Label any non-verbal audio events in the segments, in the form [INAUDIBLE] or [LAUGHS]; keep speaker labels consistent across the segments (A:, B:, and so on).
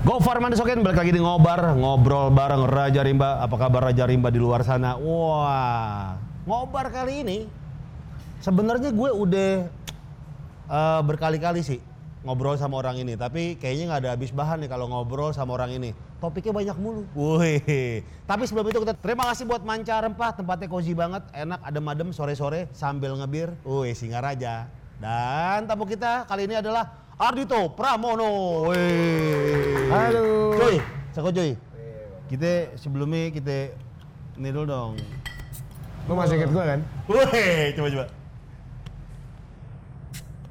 A: Gofar Mandesoken balik lagi di ngobar, ngobrol bareng Raja Rimba. Apa kabar Raja Rimba di luar sana? Wah, ngobar kali ini. Sebenarnya gue udah eh, berkali-kali sih ngobrol sama orang ini, tapi kayaknya nggak ada habis bahan nih kalau ngobrol sama orang ini. Topiknya banyak mulu. Wih. Tapi sebelum itu kita terima kasih buat Manca Rempah, tempatnya cozy banget, enak adem-adem sore-sore sambil ngebir. Wih, Singaraja. Dan tamu kita kali ini adalah Ardito Pramono. Wih.
B: Halo.
A: Joy, Sako Joy. Kita sebelumnya kita ini dulu dong.
B: Lu masih inget gue kan?
A: Wih, coba coba.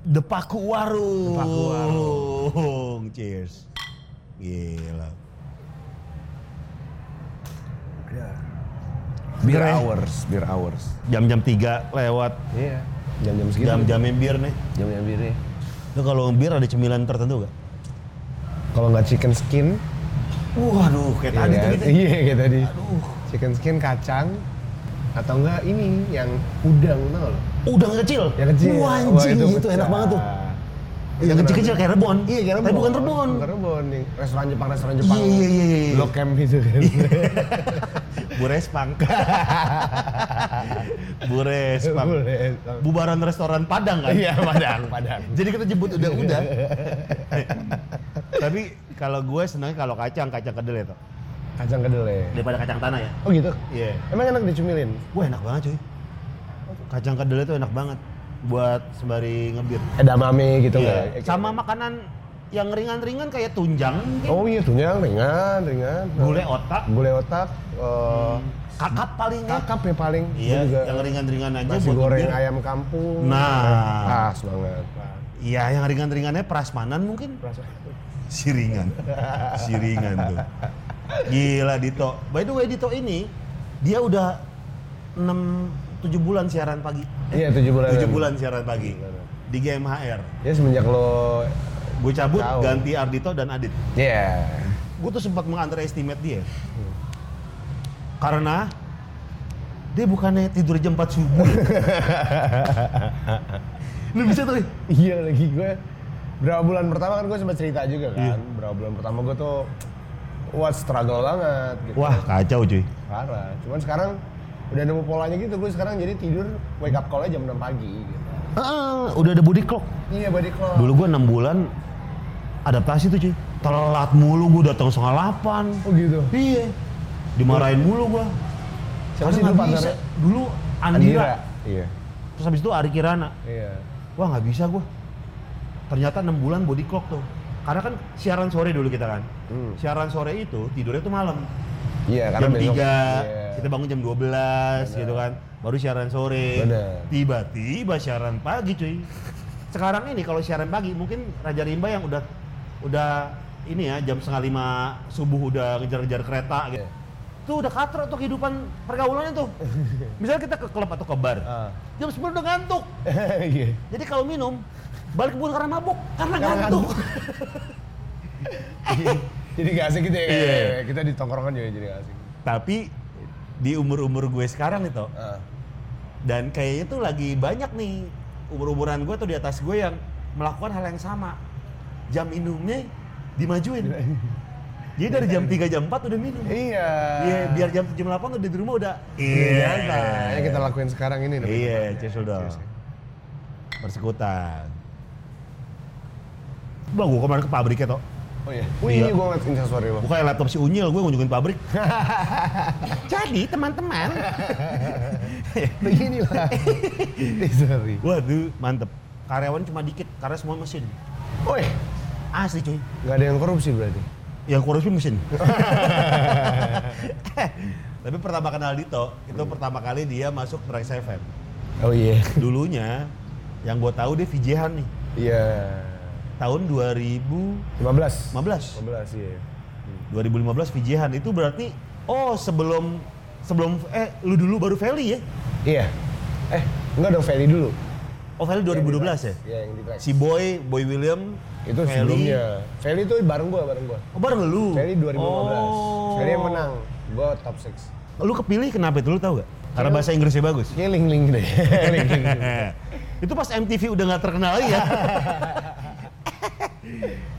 A: Depaku warung.
B: Depaku
A: warung. Cheers. Gila.
B: Beer
A: Beer
B: hours, beer hours.
A: Jam-jam 3 lewat.
B: Iya. Jam-jam segitu.
A: Jam-jamnya bir nih.
B: Jam-jam bir ya.
A: Lu kalau bir ada cemilan tertentu gak?
B: Kalau nggak chicken skin,
A: Waduh, kayak tadi
B: iya kan?
A: tuh kita.
B: Iya kayak tadi.
A: Aduh.
B: Chicken skin kacang atau enggak ini yang udang tau nggak lo?
A: Udang kecil.
B: Yang kecil.
A: Wah,
B: Wah,
A: anjing, itu, enak
B: pecah.
A: banget tuh.
B: Itu
A: Yang
B: kenapa?
A: kecil-kecil kayak rebon.
B: Iya, kayak
A: Tapi bukan rebon.
B: Bukan rebon nih. Restoran Jepang, restoran Jepang.
A: Iya, iya, iya, iya.
B: Blok camp gitu kan.
A: Bu
B: [LAUGHS]
A: Respang. Bu Respang.
B: Boleh.
A: Bubaran restoran Padang kan?
B: Iya, Padang, Padang.
A: [LAUGHS] Jadi kita jemput udah-udah. Tapi kalau gue senangnya kalau kacang, kacang kedelai tuh.
B: Kacang kedelai.
A: Daripada kacang tanah ya?
B: Oh gitu.
A: Iya.
B: Emang enak dicumilin?
A: Wah enak banget cuy. Kacang kedelai tuh enak banget. Buat sembari ngebir.
B: Edamame gitu
A: Iya.
B: nggak?
A: Sama makanan yang ringan-ringan kayak tunjang mungkin.
B: Oh iya, tunjang ringan, ringan.
A: Gulai otak.
B: Gulai otak, eh,
A: Kakap paling ya.
B: kakap ya paling. Gua
A: Iya,
B: juga
A: yang ringan-ringan aja
B: nasi
A: buat
B: goreng
A: ngebir.
B: ayam kampung.
A: Nah.
B: pas banget.
A: Iya, yang ringan-ringannya prasmanan mungkin. Siringan. Siringan tuh. Gila Dito. By the way Dito ini dia udah 6 7 bulan siaran pagi.
B: Iya, tujuh bulan.
A: 7 bulan siaran pagi di GMHR.
B: Ya semenjak lo,
A: Gue cabut
B: Tahu.
A: ganti Ardito dan Adit.
B: ya
A: Gue tuh sempat meng-underestimate dia.
B: Hmm.
A: Karena dia bukannya tidur jam 4
B: [LAUGHS]
A: subuh. Lu bisa tuh.
B: Iya lagi gue. Berapa bulan pertama kan gue sempat cerita juga kan.
A: Iya.
B: Berapa bulan pertama gue tuh, wah struggle banget. Gitu.
A: Wah, kacau cuy.
B: Parah. Cuman sekarang udah nemu polanya gitu. Gue sekarang jadi tidur wake up call-nya jam 6 pagi. Gitu.
A: Ah, udah ada body clock.
B: Iya body clock.
A: Dulu gue 6 bulan adaptasi tuh cuy. Telat mulu gue datang setengah 8.
B: Oh gitu.
A: Iya. Dimarahin mulu gue.
B: Siapa sih dulu pacarnya?
A: Dulu Andira.
B: Iya.
A: Terus habis itu Ari Kirana.
B: Iya.
A: Wah nggak bisa gue. Ternyata 6 bulan body clock tuh. Karena kan siaran sore dulu kita kan.
B: Hmm.
A: Siaran sore itu tidurnya tuh malam.
B: Iya karena
A: jam 3,
B: besok. Iya.
A: kita bangun jam 12 gitu kan. Baru siaran sore.
B: Bener.
A: Tiba-tiba siaran pagi cuy. Sekarang ini kalau siaran pagi mungkin Raja Rimba yang udah udah ini ya jam setengah lima subuh udah ngejar-ngejar kereta gitu.
B: Iya.
A: Tuh udah katro tuh kehidupan pergaulannya
B: [LAUGHS]
A: tuh. Misalnya kita ke klub atau ke bar.
B: Ah. [LAUGHS]
A: Jam 10 udah ngantuk.
B: Iya. [LAUGHS]
A: Jadi kalau minum balik ke bun karena mabuk, karena
B: Karena
A: ngantuk.
B: Jadi gak asik gitu ya. kayak-
A: Iya.
B: kayak Kita di tongkrongan juga jadi gak asik.
A: Tapi di umur-umur gue sekarang itu
B: Ah.
A: dan kayaknya tuh lagi banyak nih umur-umuran gue tuh di atas gue yang melakukan hal yang sama jam minumnya dimajuin jadi dari jam 3 jam 4 udah minum
B: Iya.
A: Iya, biar jam 7 jam 8 udah di rumah udah
B: Iya.
A: santai.
B: Yang kita lakuin sekarang ini. namanya.
A: iya cheers dulu dong
B: Cheers.
A: persekutan Bah, gue kemarin ke pabriknya toh.
B: Oh iya. Wih,
A: Iya.
B: ini gue ngeliat instastory
A: [LAUGHS]
B: lo.
A: Bukannya laptop si Unyil, gue ngunjungin pabrik.
B: [LAUGHS]
A: Jadi teman-teman,
B: Begini lah. Instastory.
A: waduh mantep. Karyawan cuma dikit, karena semua mesin.
B: Woi,
A: Asli cuy.
B: gak ada yang korupsi berarti.
A: yang korupsi
B: [LAUGHS]
A: mesin. Eh, Tapi pertama kenal Dito, itu
B: Hmm.
A: pertama kali dia masuk Trax FM.
B: Oh iya.
A: Dulunya yang gue tahu dia VJ-han nih,
B: Iya.
A: tahun 2015.
B: 15. 15 iya.
A: 2015 VJ-han itu berarti oh sebelum sebelum eh lu dulu baru Feli ya.
B: Iya. Eh, enggak dong Feli dulu.
A: Oh Feli 2012 ya.
B: Iya, yang di track.
A: Si Boy, Boy William
B: Itu
A: Feli.
B: sebelumnya. Feli itu bareng gua, bareng gua.
A: Oh, bareng lu.
B: Feli 2015.
A: Oh.
B: Feli yang menang. Gua top 6.
A: Lu kepilih kenapa itu lu tahu gak? Karena bahasa Inggrisnya bagus.
B: Ini link-link deh. [LAUGHS]
A: Eh,
B: link-link.
A: itu pas MTV udah nggak terkenal lagi ya.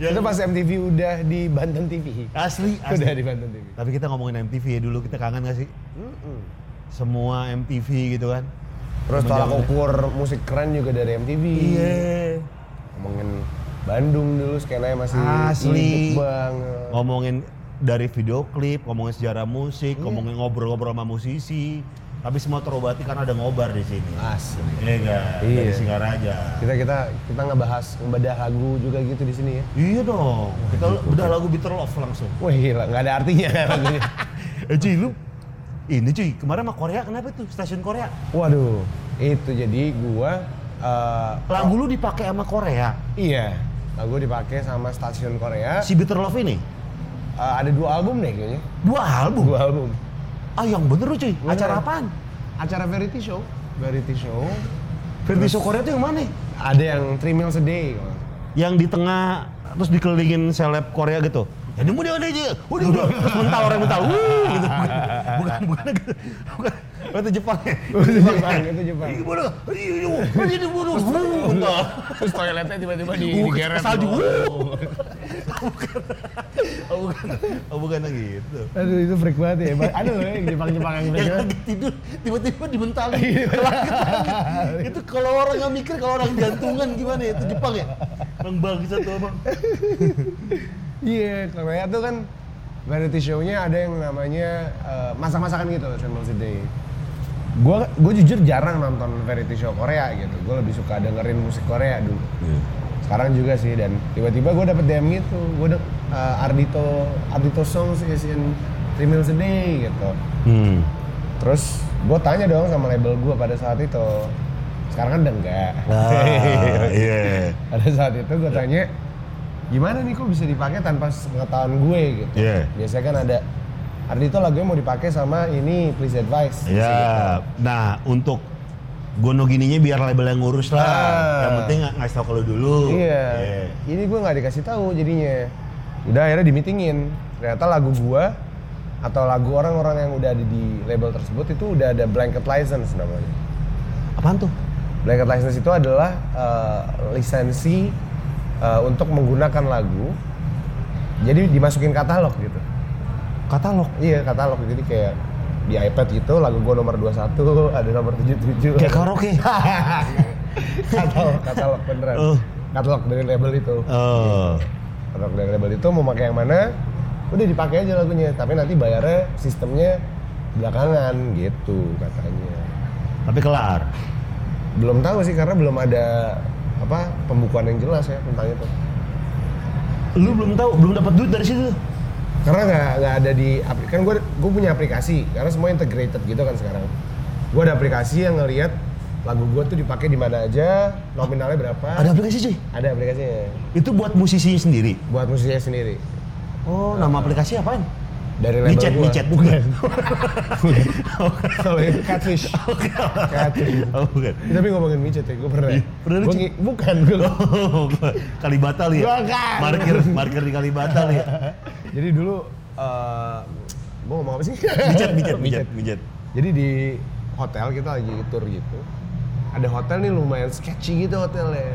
B: Itu pas MTV udah di Banten TV.
A: Asli, asli.
B: Udah di Banten TV.
A: Tapi kita ngomongin MTV ya dulu, kita kangen gak sih? Semua MTV gitu kan.
B: Terus
A: Zaman-
B: tolak ukur musik keren juga dari MTV.
A: Iya.
B: Ngomongin Bandung dulu skenanya masih
A: Asli.
B: hidup banget.
A: Ngomongin dari video klip, ngomongin sejarah musik,
B: Iya.
A: ngomongin ngobrol-ngobrol sama musisi. Tapi semua terobati karena ada ngobar di sini.
B: Asli.
A: Iya enggak?
B: Ah. Iya.
A: Dari Singaraja.
B: Kita kita kita ngebahas ngebedah lagu juga gitu di sini ya.
A: Iya dong. Kita udah lagu Bitter Love
B: [LAUGHS]
A: langsung.
B: Wah gila, nggak ada artinya [LAUGHS] lagunya.
A: Eh cuy, lu ini cuy, kemarin sama Korea kenapa tuh? Stasiun Korea.
B: Waduh, itu jadi gua eh,
A: Lagu lu dipakai sama Korea.
B: iya lagu dipakai sama stasiun Korea.
A: Si Bitter Love ini
B: Eh, ada dua album deh kayaknya.
A: dua album.
B: Dua album.
A: Ah yang bener lu cuy.
B: Bener.
A: Acara apaan?
B: Acara variety show, variety show.
A: Verdi Show Korea tuh yang mana?
B: Ada yang three meals a day. kalau nggak salah.
A: Yang di tengah terus dikelilingin seleb Korea gitu. Jadi mudah udah aja. Udah udah. Terus mental orang mental. Wuh [LAUGHS] gitu. Bukan bukan gitu. Bukan. Oh, itu Jepang ya? Iya,
B: Itu [LAUGHS] Jepang, itu Jepang.
A: Ih, bodoh. Ih, ih, ih, ih, ih, bodoh. Wuh, mental.
B: Terus toiletnya tiba-tiba di,
A: Uh,
B: digeret.
A: salju. Wuh. Oh, bukan. Oh, bukan yang gitu.
B: Aduh itu freak banget ya. Ba- Ada loh yang Jepang-Jepang yang gitu. freak
A: Yang
B: banget.
A: lagi tidur tiba-tiba dimentalin. itu kalau orang nggak mikir kalau orang jantungan gimana ya? Itu Jepang ya? Bang bagus satu abang.
B: Iya, Korea tuh kan variety show-nya ada yang namanya eh, masak-masakan gitu, Samuel Day. Gue gue jujur jarang nonton variety show Korea gitu. Gue lebih suka dengerin musik Korea dulu. Sekarang juga sih dan tiba-tiba gue dapet DM gitu. Gue dek eh, Ardito Ardito Songs is in Three Meals a Day gitu.
A: Hmm.
B: Terus gue tanya dong sama label gue pada saat itu. Sekarang kan udah enggak.
A: Ah, [LAUGHS] iya.
B: pada saat itu gue tanya gimana nih kok bisa dipakai tanpa pengetahuan gue gitu
A: Iya.
B: biasanya kan ada Ardito lagunya mau dipakai sama ini please Gitu. advice
A: Ya, nah untuk gono gininya biar label yang ngurus lah.
B: Ah.
A: Yang penting nggak ngasih tau kalau dulu.
B: iya
A: Iya.
B: ini gue nggak dikasih tahu jadinya udah akhirnya dimitingin ternyata lagu gue atau lagu orang-orang yang udah ada di label tersebut itu udah ada blanket license namanya
A: Apaan tuh?
B: Blanket license itu adalah eh, lisensi eh, untuk menggunakan lagu. Jadi dimasukin katalog gitu.
A: Katalog.
B: Iya katalog jadi kayak di iPad gitu lagu gue nomor 21 [LAUGHS] ada nomor 77
A: [LAUGHS] Kayak karaoke.
B: [LAUGHS] katalog katalog beneran
A: Oh.
B: katalog dari label itu
A: Eh,
B: katalog dari label itu mau pakai yang mana udah dipakai aja lagunya tapi nanti bayarnya sistemnya belakangan gitu katanya
A: tapi kelar.
B: belum tahu sih karena belum ada apa pembukuan yang jelas ya tentang itu
A: Lu belum tahu, belum dapat duit dari situ.
B: karena nggak nggak ada di apli- kan gue gue punya aplikasi karena semua integrated gitu kan sekarang gue ada aplikasi yang ngelihat lagu gue tuh dipakai di mana aja nominalnya berapa
A: Ada aplikasi cuy.
B: ada aplikasinya
A: Itu buat musisi sendiri.
B: buat musiknya sendiri
A: Oh, nama aplikasi apaan?
B: dari label
A: Micet,
B: gua. [LAUGHS]
A: micet bukan.
B: kalau itu catfish catfish
A: [LAUGHS] Oh, bukan.
B: tapi ngomongin micet ya gue pernah
A: Ih, pernah lu,
B: Gua
A: Ci?
B: ngi- bukan gue
A: Oh, Kalibata lu ya?
B: Bukan.
A: Markir, markir di Kalibata lu ya?
B: jadi dulu eh gue ngomong apa sih
A: Micet,
B: [LAUGHS]
A: micet, micet, micet.
B: Jadi di hotel kita lagi tour gitu. Ada hotel nih lumayan sketchy gitu hotelnya.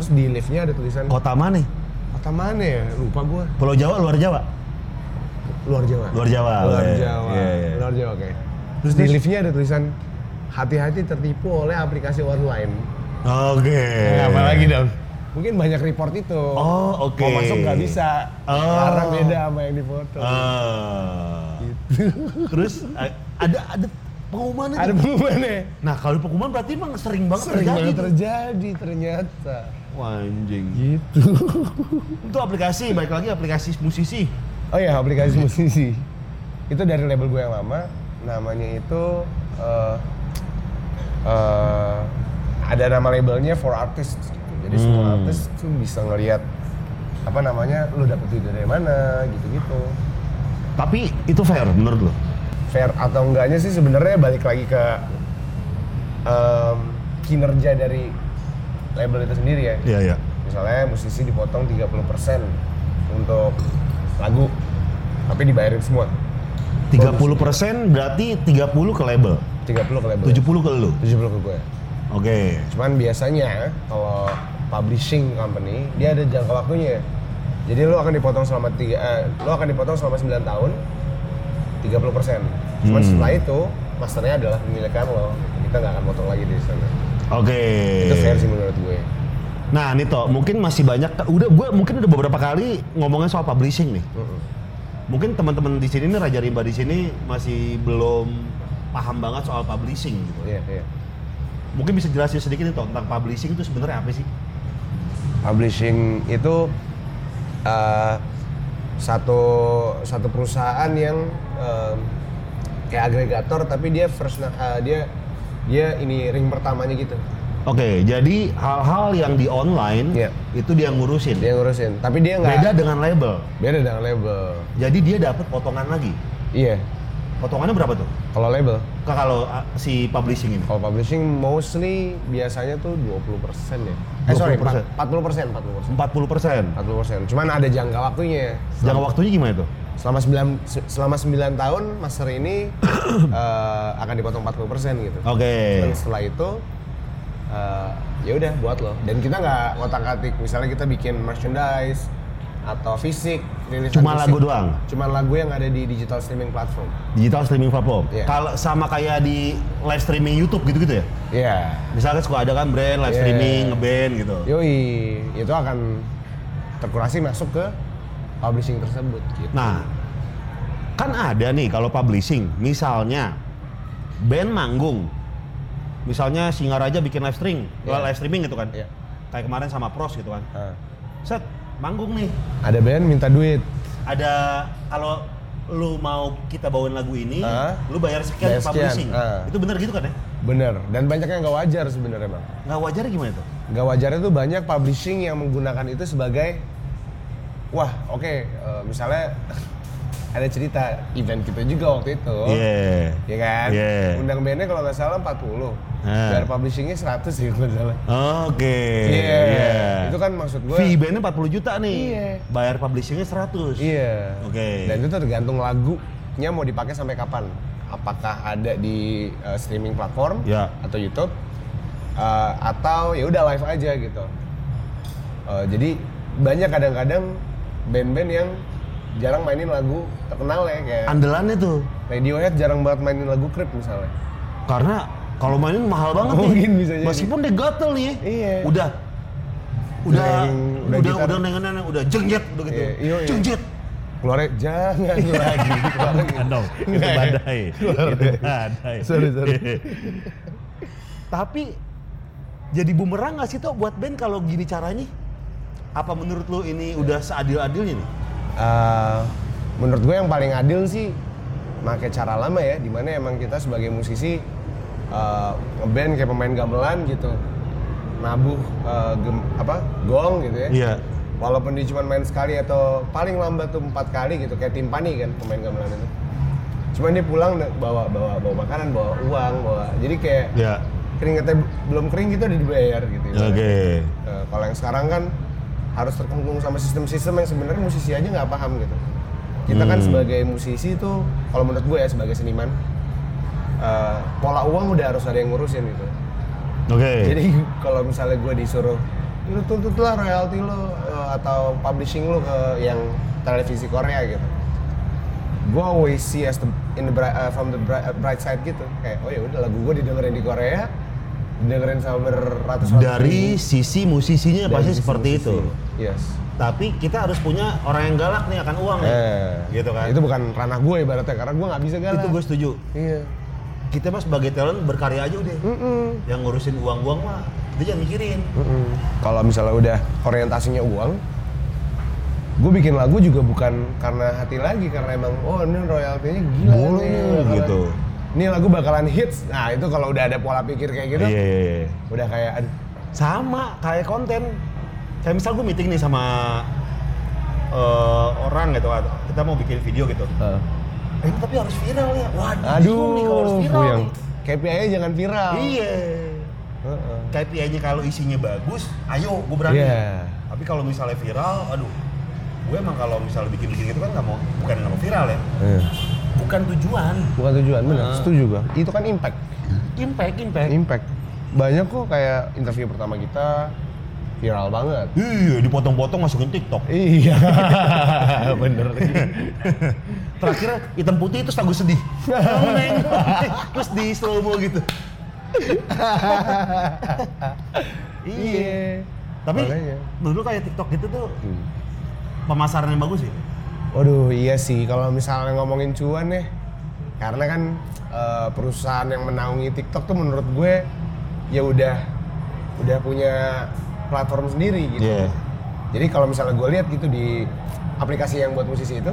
B: Terus di liftnya ada tulisan
A: Kota mana?
B: kota mana ya? Lupa gua.
A: Pulau Jawa, luar Jawa?
B: Luar Jawa.
A: Luar Jawa,
B: Luar
A: oke.
B: Jawa.
A: Iya, iya.
B: Luar Jawa oke. Terus di liftnya ada tulisan hati-hati tertipu oleh aplikasi online. Nah,
A: Oke.
B: dong? Mungkin banyak report itu.
A: Oh, oke.
B: Mau masuk nggak bisa.
A: Oh.
B: Karena beda sama yang di foto.
A: Ah. Terus a- ada ada pengumuman
B: Gitu. Ada ya?
A: itu.
B: pengumumannya.
A: Nah, kalau pengumuman berarti emang sering banget
B: Sering
A: terjadi.
B: banget
A: tuh.
B: terjadi ternyata.
A: Wah, anjing.
B: Gitu.
A: Itu aplikasi, baik lagi aplikasi musisi.
B: Oh iya, aplikasi musisi. Itu dari label gue yang lama, namanya itu eh eh, ada nama labelnya for artists gitu. Jadi semua
A: Hmm.
B: artis tuh bisa ngelihat apa namanya, lu dapet duit dari mana, gitu-gitu.
A: Tapi itu fair menurut lo?
B: Fair atau enggaknya sih sebenarnya balik lagi ke em, kinerja dari label itu sendiri ya.
A: Iya, iya.
B: Misalnya musisi dipotong 30% untuk lagu, tapi dibayarin semua.
A: 30% berarti 30 ke label,
B: 30 ke label.
A: 70 ke lo.
B: 70 ke gue.
A: Oke.
B: Cuman biasanya kalau publishing company, dia ada jangka waktunya. Jadi lo akan dipotong selama tiga, eh, lo akan dipotong selama 9 tahun, 30 persen. Cuman setelah itu, masternya adalah pemilikan lo. Kita nggak akan potong lagi di sana.
A: Oke.
B: Itu
A: Eh.
B: fair sih menurut gue.
A: Nah, Nito, mungkin masih banyak udah gue mungkin udah beberapa kali ngomongin soal publishing nih.
B: Mm-mm.
A: Mungkin teman-teman di sini nih Raja Rimba di sini masih belum paham banget soal publishing gitu.
B: Iya, iya.
A: Mungkin bisa jelasin sedikit nih tentang publishing itu sebenarnya apa sih?
B: Publishing itu eh, satu satu perusahaan yang eh, kayak agregator tapi dia first na- eh, dia dia ini ring pertamanya gitu.
A: Oke, jadi hal-hal yang di online
B: Iya.
A: itu dia ngurusin.
B: Dia ngurusin, tapi dia nggak
A: Beda dengan label.
B: beda dengan label.
A: Jadi dia dapat potongan lagi.
B: Iya,
A: Potongannya berapa tuh?
B: kalau label,
A: Kak, kalau ah, si publishing ini.
B: kalau publishing mostly biasanya tuh 20% ya. Eh sorry,
A: 20%.
B: 40%,
A: 40%.
B: 40%. 40%. Cuman ada jangka waktunya.
A: Jangka waktunya gimana tuh?
B: Selama 9 se- selama 9 tahun master ini [COUGHS] eh, akan dipotong 40% gitu.
A: Oke.
B: Dan setelah itu eh, ya udah buat lo. Dan kita nggak ngotak-atik. Misalnya kita bikin merchandise atau fisik, rilisan
A: Cuma
B: fisik.
A: lagu doang.
B: Cuma lagu yang ada di digital streaming platform.
A: Digital streaming platform.
B: Iya.
A: Kalau sama kayak di live streaming YouTube gitu-gitu ya.
B: Iya.
A: Misalnya suka ada kan brand live
B: Iya.
A: streaming, ngeband gitu.
B: Yoi, itu akan terkurasi masuk ke publishing tersebut gitu.
A: Nah, kan ada nih kalau publishing, misalnya band manggung. Misalnya Singaraja bikin live streaming,
B: Iya.
A: live streaming gitu kan.
B: Iya.
A: Kayak kemarin sama Pros gitu kan.
B: Ah.
A: Set, manggung nih.
B: Ada band minta duit.
A: Ada kalau lu mau kita bawain lagu ini,
B: Ah.
A: lu bayar sekian
B: Bayar sekian,
A: publishing.
B: ah.
A: Itu bener gitu kan ya?
B: Bener. Dan banyak yang nggak wajar sebenarnya bang.
A: Nggak wajar gimana tuh?
B: Nggak wajarnya tuh banyak publishing yang menggunakan itu sebagai wah oke eh, misalnya [LAUGHS] ada cerita event kita juga waktu itu.
A: Iya.
B: Ya kan?
A: Iya.
B: Undang bandnya kalau nggak salah 40.
A: Ah.
B: Biar publishingnya 100 sih kalau nggak salah.
A: Oke.
B: Iya.
A: Iya.
B: Itu kan maksud gue.
A: Fee bandnya 40 juta nih.
B: Iya.
A: Bayar publishingnya 100.
B: Iya.
A: Oke.
B: Dan itu tergantung lagunya mau dipakai sampai kapan. Apakah ada di uh, streaming platform
A: Ya.
B: atau YouTube uh, atau ya udah live aja gitu. Uh, jadi banyak kadang-kadang band-band yang jarang mainin lagu terkenal ya kayak
A: Andalannya tuh.
B: Radiohead jarang banget mainin lagu Creep misalnya.
A: Karena kalau mainin mahal banget nih.
B: Mungkin bisa jadi.
A: Meskipun dia gatel nih.
B: Iya.
A: Udah udah
B: Neng,
A: udah
B: udah
A: udah
B: gitar.
A: udah nengen nengen udah jengjet udah gitu.
B: Iya, iya, iya.
A: Jengjet.
B: Keluarnya
A: [LAUGHS]
B: jangan lagi. keluarin.
A: Aduh, itu badai. itu badai.
B: iya. Sorry, sorry.
A: [LAUGHS] Tapi jadi bumerang gak sih tuh buat band kalau gini caranya? Apa menurut lu ini udah seadil-adilnya nih?
B: Uh, menurut gue yang paling adil sih pakai cara lama ya dimana emang kita sebagai musisi uh, ngeband kayak pemain gamelan gitu nabuh uh, gem- apa gong gitu ya
A: Iya.
B: walaupun dia cuma main sekali atau paling lambat tuh empat kali gitu kayak timpani kan pemain gamelan itu cuman dia pulang da- bawa bawa bawa makanan bawa uang bawa jadi kayak
A: Iya.
B: keringetnya b- belum kering gitu udah dibayar gitu
A: Oke.
B: Eh, kalau yang sekarang kan harus terkungkung sama sistem-sistem yang sebenarnya musisi aja nggak paham gitu. Kita
A: Hmm.
B: kan sebagai musisi itu, kalau menurut gue ya sebagai seniman, eh, pola uang udah harus ada yang ngurusin gitu.
A: Oke.
B: Jadi [LAUGHS] kalau misalnya gue disuruh, lu tuntutlah royalti lo eh, atau publishing lo ke yang televisi Korea gitu. Gue always see as the, in the bri- eh, from the bri- eh, bright side gitu. Kayak oh ya udah lagu gue didengerin di Korea, didengerin sama beratus-ratus
A: Dari
B: ribu.
A: sisi musisinya
B: Dari
A: pasti
B: sisi
A: seperti itu.
B: musisi. Yes.
A: Tapi kita harus punya orang yang galak nih akan uang nih. gitu kan.
B: Eh, Itu bukan ranah gue ibaratnya karena gue nggak bisa galak.
A: Itu gue setuju.
B: Iya.
A: Kita mah sebagai talent berkarya aja udah. Yang ngurusin uang-uang mah dia jangan mikirin.
B: Mm-mm. Kalau misalnya udah orientasinya uang, gue bikin lagu juga bukan karena hati lagi karena emang oh ini royaltinya gila
A: Boleh
B: nih,
A: nih,
B: bakalan-
A: gitu.
B: Ini lagu bakalan hits. Nah, itu kalau udah ada pola pikir kayak gitu,
A: Iya.
B: udah kayak aduh,
A: Sama kayak konten. Kayak misal gue meeting nih sama eh, orang gitu kan. Kita mau bikin video gitu. Eh, ini tapi harus viral ya. Waduh,
B: aduh,
A: nih kalau harus viral
B: puyeng.
A: nih.
B: KPI-nya jangan viral.
A: Iya.
B: Heeh.
A: KPI-nya kalau isinya bagus, ayo gue berani.
B: Iya.
A: Tapi kalau misalnya viral, aduh, gue emang kalau misalnya bikin-bikin gitu kan nggak mau, bukan nggak mau viral ya,
B: Iya.
A: bukan tujuan.
B: Bukan tujuan, benar.
A: Heeh.
B: Setuju gue. Itu kan impact. Eh.
A: Impact, impact.
B: impact banyak kok kayak interview pertama kita viral banget.
A: Iya, dipotong-potong masukin TikTok.
B: [LAUGHS] Iya, bener.
A: Terakhir hitam putih itu lagu [LAUGHS] sedih. Kamu nengok. Terus di slow mo gitu. iya. Tapi
B: Makanya.
A: dulu kayak TikTok gitu tuh pemasaran yang bagus ya? sih.
B: Waduh, iya sih. Kalau misalnya ngomongin cuan ya, karena kan eh, perusahaan yang menaungi TikTok tuh menurut gue ya udah udah punya platform sendiri gitu. Jadi kalau misalnya gue lihat gitu di aplikasi yang buat musisi itu,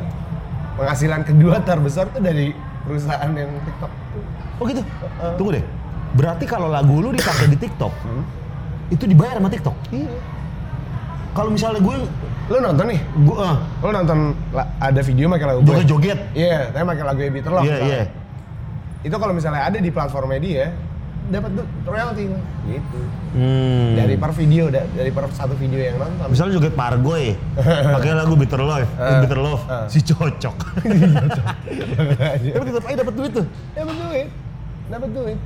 B: penghasilan kedua terbesar tuh dari perusahaan yang TikTok.
A: Oh gitu.
B: Eh,
A: Tunggu deh. Berarti kalau lagu lu dipakai di TikTok, itu dibayar sama TikTok.
B: Hmm. Iya.
A: Kalau misalnya gue
B: Lo nonton nih,
A: gue eh,
B: lo nonton la- ada video pakai lagu gue.
A: joget-joget.
B: Iya, tapi pakai lagu Ebi Terlok.
A: Iya, iya.
B: Itu kalau misalnya ada di platform media, dapat tuh royalty gitu.
A: Hmm.
B: Dari per video, da- dari per satu video
A: [LAUGHS]
B: yang nonton.
A: misalnya joget Pargoy pakai lagu Bitter Love,
B: Eh,
A: Bitter Love,
B: eh. Iya.
A: si cocok.
B: dapat
A: Tapi tetap aja dapat duit tuh.
B: duit, dapat duit.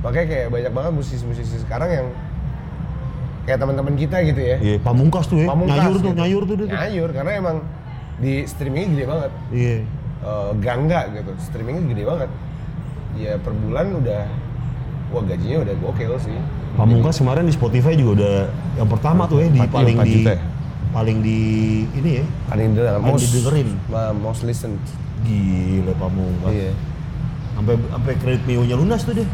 B: Makanya kayak banyak banget musisi-musisi sekarang yang kayak teman-teman kita gitu ya.
A: Iya, pamungkas tuh ya.
B: Pamungkas
A: nyayur tuh,
B: gitu.
A: nyayur tuh dia tuh.
B: Nyayur karena emang di streamingnya gede banget.
A: Iya.
B: Eh, Gangga gitu, streamingnya gede banget. Ya per bulan udah, wah gajinya udah gokil sih.
A: Pamungkas kemarin di Spotify juga udah yang pertama tuh ya di
B: Empat-
A: paling
B: empat
A: di
B: juta ya?
A: paling di ini ya.
B: Paling dengar,
A: Paling didengerin.
B: ma- most listened.
A: Gila Pamungkas.
B: Iya.
A: Sampai sampai kredit Mio-nya lunas
B: [LAUGHS]
A: tuh dia.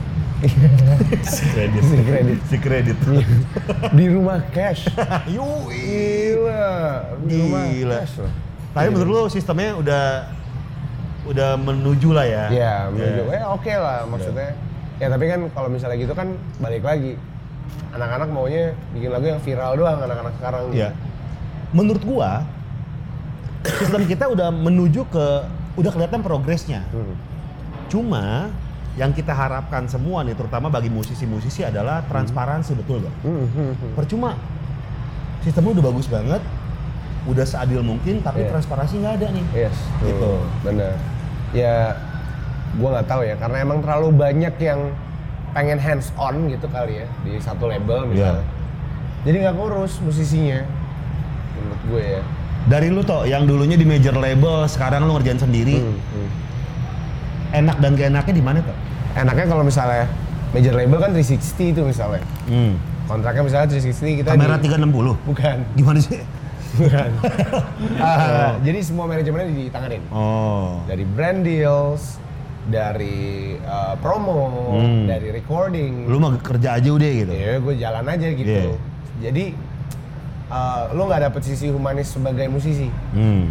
A: si kredit.
B: Si kredit.
A: Si kredit.
B: [LAUGHS] di rumah cash.
A: Yoi.
B: Gila, di rumah
A: Gila.
B: cash loh.
A: Tapi menurut lu sistemnya udah udah menuju lah ya.
B: Iya, menuju. Ya, oke lah maksudnya. Ya tapi kan kalau misalnya gitu kan balik lagi. Anak-anak maunya bikin lagu yang viral doang anak-anak sekarang.
A: Iya. Menurut gua sistem kita udah menuju ke udah kelihatan progresnya.
B: Hmm.
A: Cuma yang kita harapkan semua nih terutama bagi musisi-musisi adalah transparansi betul gak?
B: Hmm, hmm, hmm.
A: Percuma sistemnya udah bagus banget, udah seadil mungkin tapi
B: Iya.
A: transparansi nggak ada nih.
B: Yes, tuh,
A: Gitu.
B: Bener. Ya, gua nggak tahu ya, karena emang terlalu banyak yang pengen hands on gitu kali ya di satu label misalnya.
A: Iya.
B: Jadi nggak kurus musisinya, menurut gue ya.
A: Dari lu toh yang dulunya di major label sekarang lu ngerjain sendiri,
B: Hmm, hmm.
A: enak dan gak enaknya di mana toh?
B: Enaknya kalau misalnya major label kan 360 itu misalnya.
A: Hmm.
B: Kontraknya misalnya 360 kita
A: Kamera
B: di-
A: 360.
B: Bukan. [LAUGHS]
A: Gimana sih? [LAUGHS]
B: Ah, Jadi semua manajemennya ditanganin.
A: Oh.
B: Dari brand deals, dari eh, promo,
A: Hmm.
B: dari recording.
A: Lu mah kerja aja udah gitu.
B: Ya gue jalan aja gitu.
A: Iya.
B: Jadi eh, lo nggak dapet sisi humanis sebagai musisi.
A: Hmm.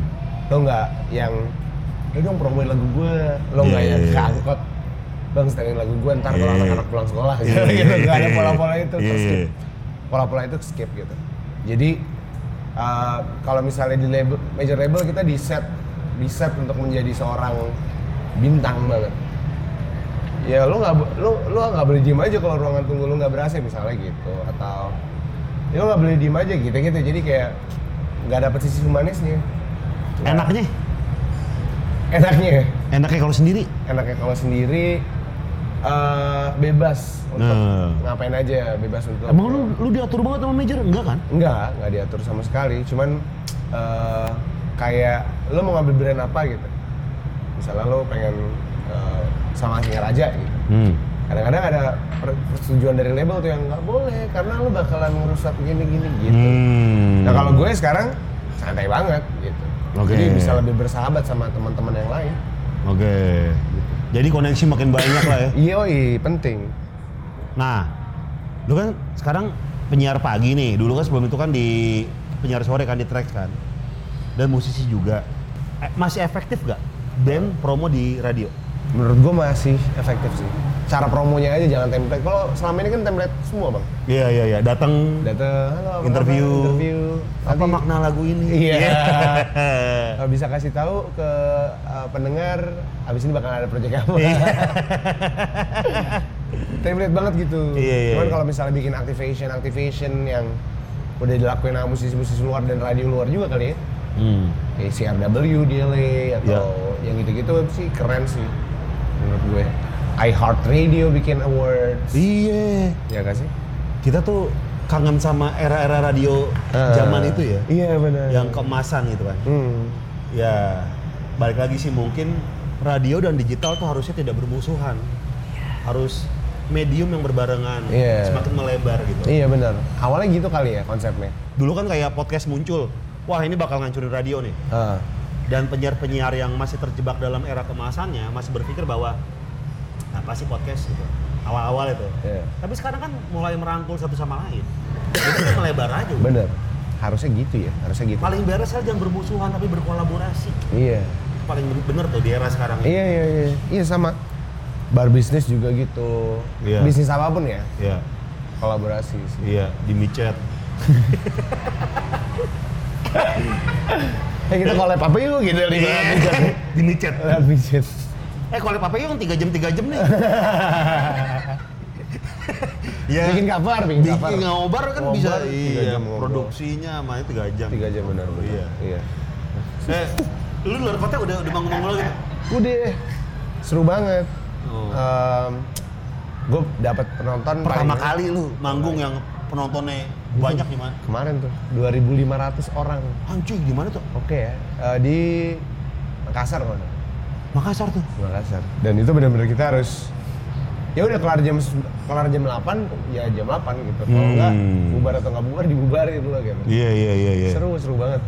B: Lo nggak yang lo dong promoin lagu gue, lo nggak
A: Iya,
B: yang
A: iya, iya.
B: keangkot bang setelin lagu gue ntar kalau
A: Iya, iya.
B: anak-anak pulang sekolah
A: Iya,
B: [LAUGHS] gitu,
A: iya,
B: gitu. Nggak ada
A: iya,
B: pola-pola itu
A: iya,
B: terus
A: iya.
B: skip. pola-pola itu skip gitu jadi eh, kalau misalnya di label, major label kita di set di set untuk menjadi seorang bintang banget ya lu nggak bo- lu lu nggak boleh diem aja kalau ruangan tunggu lu nggak berhasil misalnya gitu atau ya lu nggak boleh diem aja gitu gitu jadi kayak nggak dapet sisi humanisnya
A: Enaknya?
B: enaknya
A: Enaknya kalau sendiri?
B: enaknya kalau sendiri eh, bebas untuk
A: Nah.
B: ngapain aja bebas untuk
A: Emang lu lu diatur banget sama manajer? Enggak kan?
B: enggak enggak diatur sama sekali cuman eh, kayak lo mau ngambil brand apa gitu misalnya lo pengen eh, sama Singaraja gitu
A: Hmm.
B: kadang-kadang ada per- persetujuan dari label tuh yang nggak boleh karena lo bakalan ngerusak gini-gini gitu
A: Hmm.
B: nah kalau gue sekarang santai banget gitu
A: Oke.
B: jadi bisa lebih bersahabat sama teman-teman yang lain
A: Oke. Gitu. Jadi koneksi makin banyak lah ya.
B: Yoi, penting
A: Nah, lu kan sekarang penyiar pagi nih. Dulu kan sebelum itu kan di penyiar sore kan di track kan. Dan musisi juga. Eh, masih efektif gak band promo di radio?
B: menurut gue masih efektif sih cara promonya aja jangan template kalau selama ini kan template semua bang
A: Iya iya iya, datang
B: datang halo, apa
A: Interview.
B: kabar? interview
A: apa
B: Nanti-
A: makna lagu ini?
B: Iya.
A: Iya.
B: Eh, bisa kasih tahu ke eh, pendengar abis ini bakal ada project apa
A: Iya.
B: template banget gitu
A: Iya, iya,
B: cuman
A: iya.
B: kalau misalnya bikin activation activation yang udah dilakuin sama musisi-musisi luar dan radio luar juga kali ya
A: [LAUGHS] Hmm.
B: kayak CRW, DLA atau
A: Iya.
B: yang gitu-gitu sih keren sih menurut gue iHeart Radio bikin awards
A: Iya.
B: ya gak sih?
A: Kita tuh kangen sama era-era radio zaman itu ya,
B: Iya benar.
A: yang keemasan gitu kan.
B: Hmm.
A: Ya, balik lagi sih mungkin radio dan digital tuh harusnya tidak bermusuhan. Harus medium yang berbarengan,
B: Iya.
A: semakin melebar gitu.
B: Iya benar. Awalnya gitu kali ya konsepnya.
A: Dulu kan kayak podcast muncul, wah ini bakal ngancurin radio nih.
B: Ah.
A: Dan penyiar-penyiar yang masih terjebak dalam era kemasannya masih berpikir bahwa apa sih podcast gitu. Awal-awal itu.
B: Iya.
A: Tapi sekarang kan mulai merangkul satu sama lain. Jadi kan melebar aja.
B: Benar. Harusnya gitu ya, harusnya gitu.
A: Paling beres aja jangan bermusuhan tapi berkolaborasi.
B: Iya.
A: Paling bener tuh di era sekarang. ini.
B: Iya iya iya. Iya sama. Bar bisnis juga gitu.
A: Iya.
B: Bisnis apapun ya,
A: Iya.
B: kolaborasi sih.
A: Iya, di micet.
B: Eh kita collab apa yuk gitu di
A: Iya. di micet.
B: Lihat pijit.
A: Eh, kalau Papa yang 3 jam 3 jam [LAUGHS] nih. ya,
B: Bikin cover, bikin cover.
A: bikin ngobar kan
B: Ngobar,
A: bisa
B: tiga
A: iya,
B: jam ngobrol.
A: produksinya makanya 3 jam.
B: Tiga jam benar benar.
A: Iya.
B: Iya.
A: Eh, lu di luar kota udah udah bangun-bangun lagi.
B: Udah eh, seru banget.
A: Oh.
B: gue dapat penonton
A: Pertama
B: paling-
A: kali lu manggung yang penontonnya banyak gimana?
B: kemarin tuh 2.500 orang.
A: Anjing gimana tuh?
B: Oke ya. Eh, di Makassar mana?
A: Makassar tuh.
B: Makassar. Dan itu benar-benar kita harus ya udah kelar jam se- kelar jam 8 ya jam 8 gitu. Kalau
A: Hmm.
B: enggak bubar atau enggak bubar dibubarin dulu gitu.
A: Iya iya iya
B: Seru seru banget.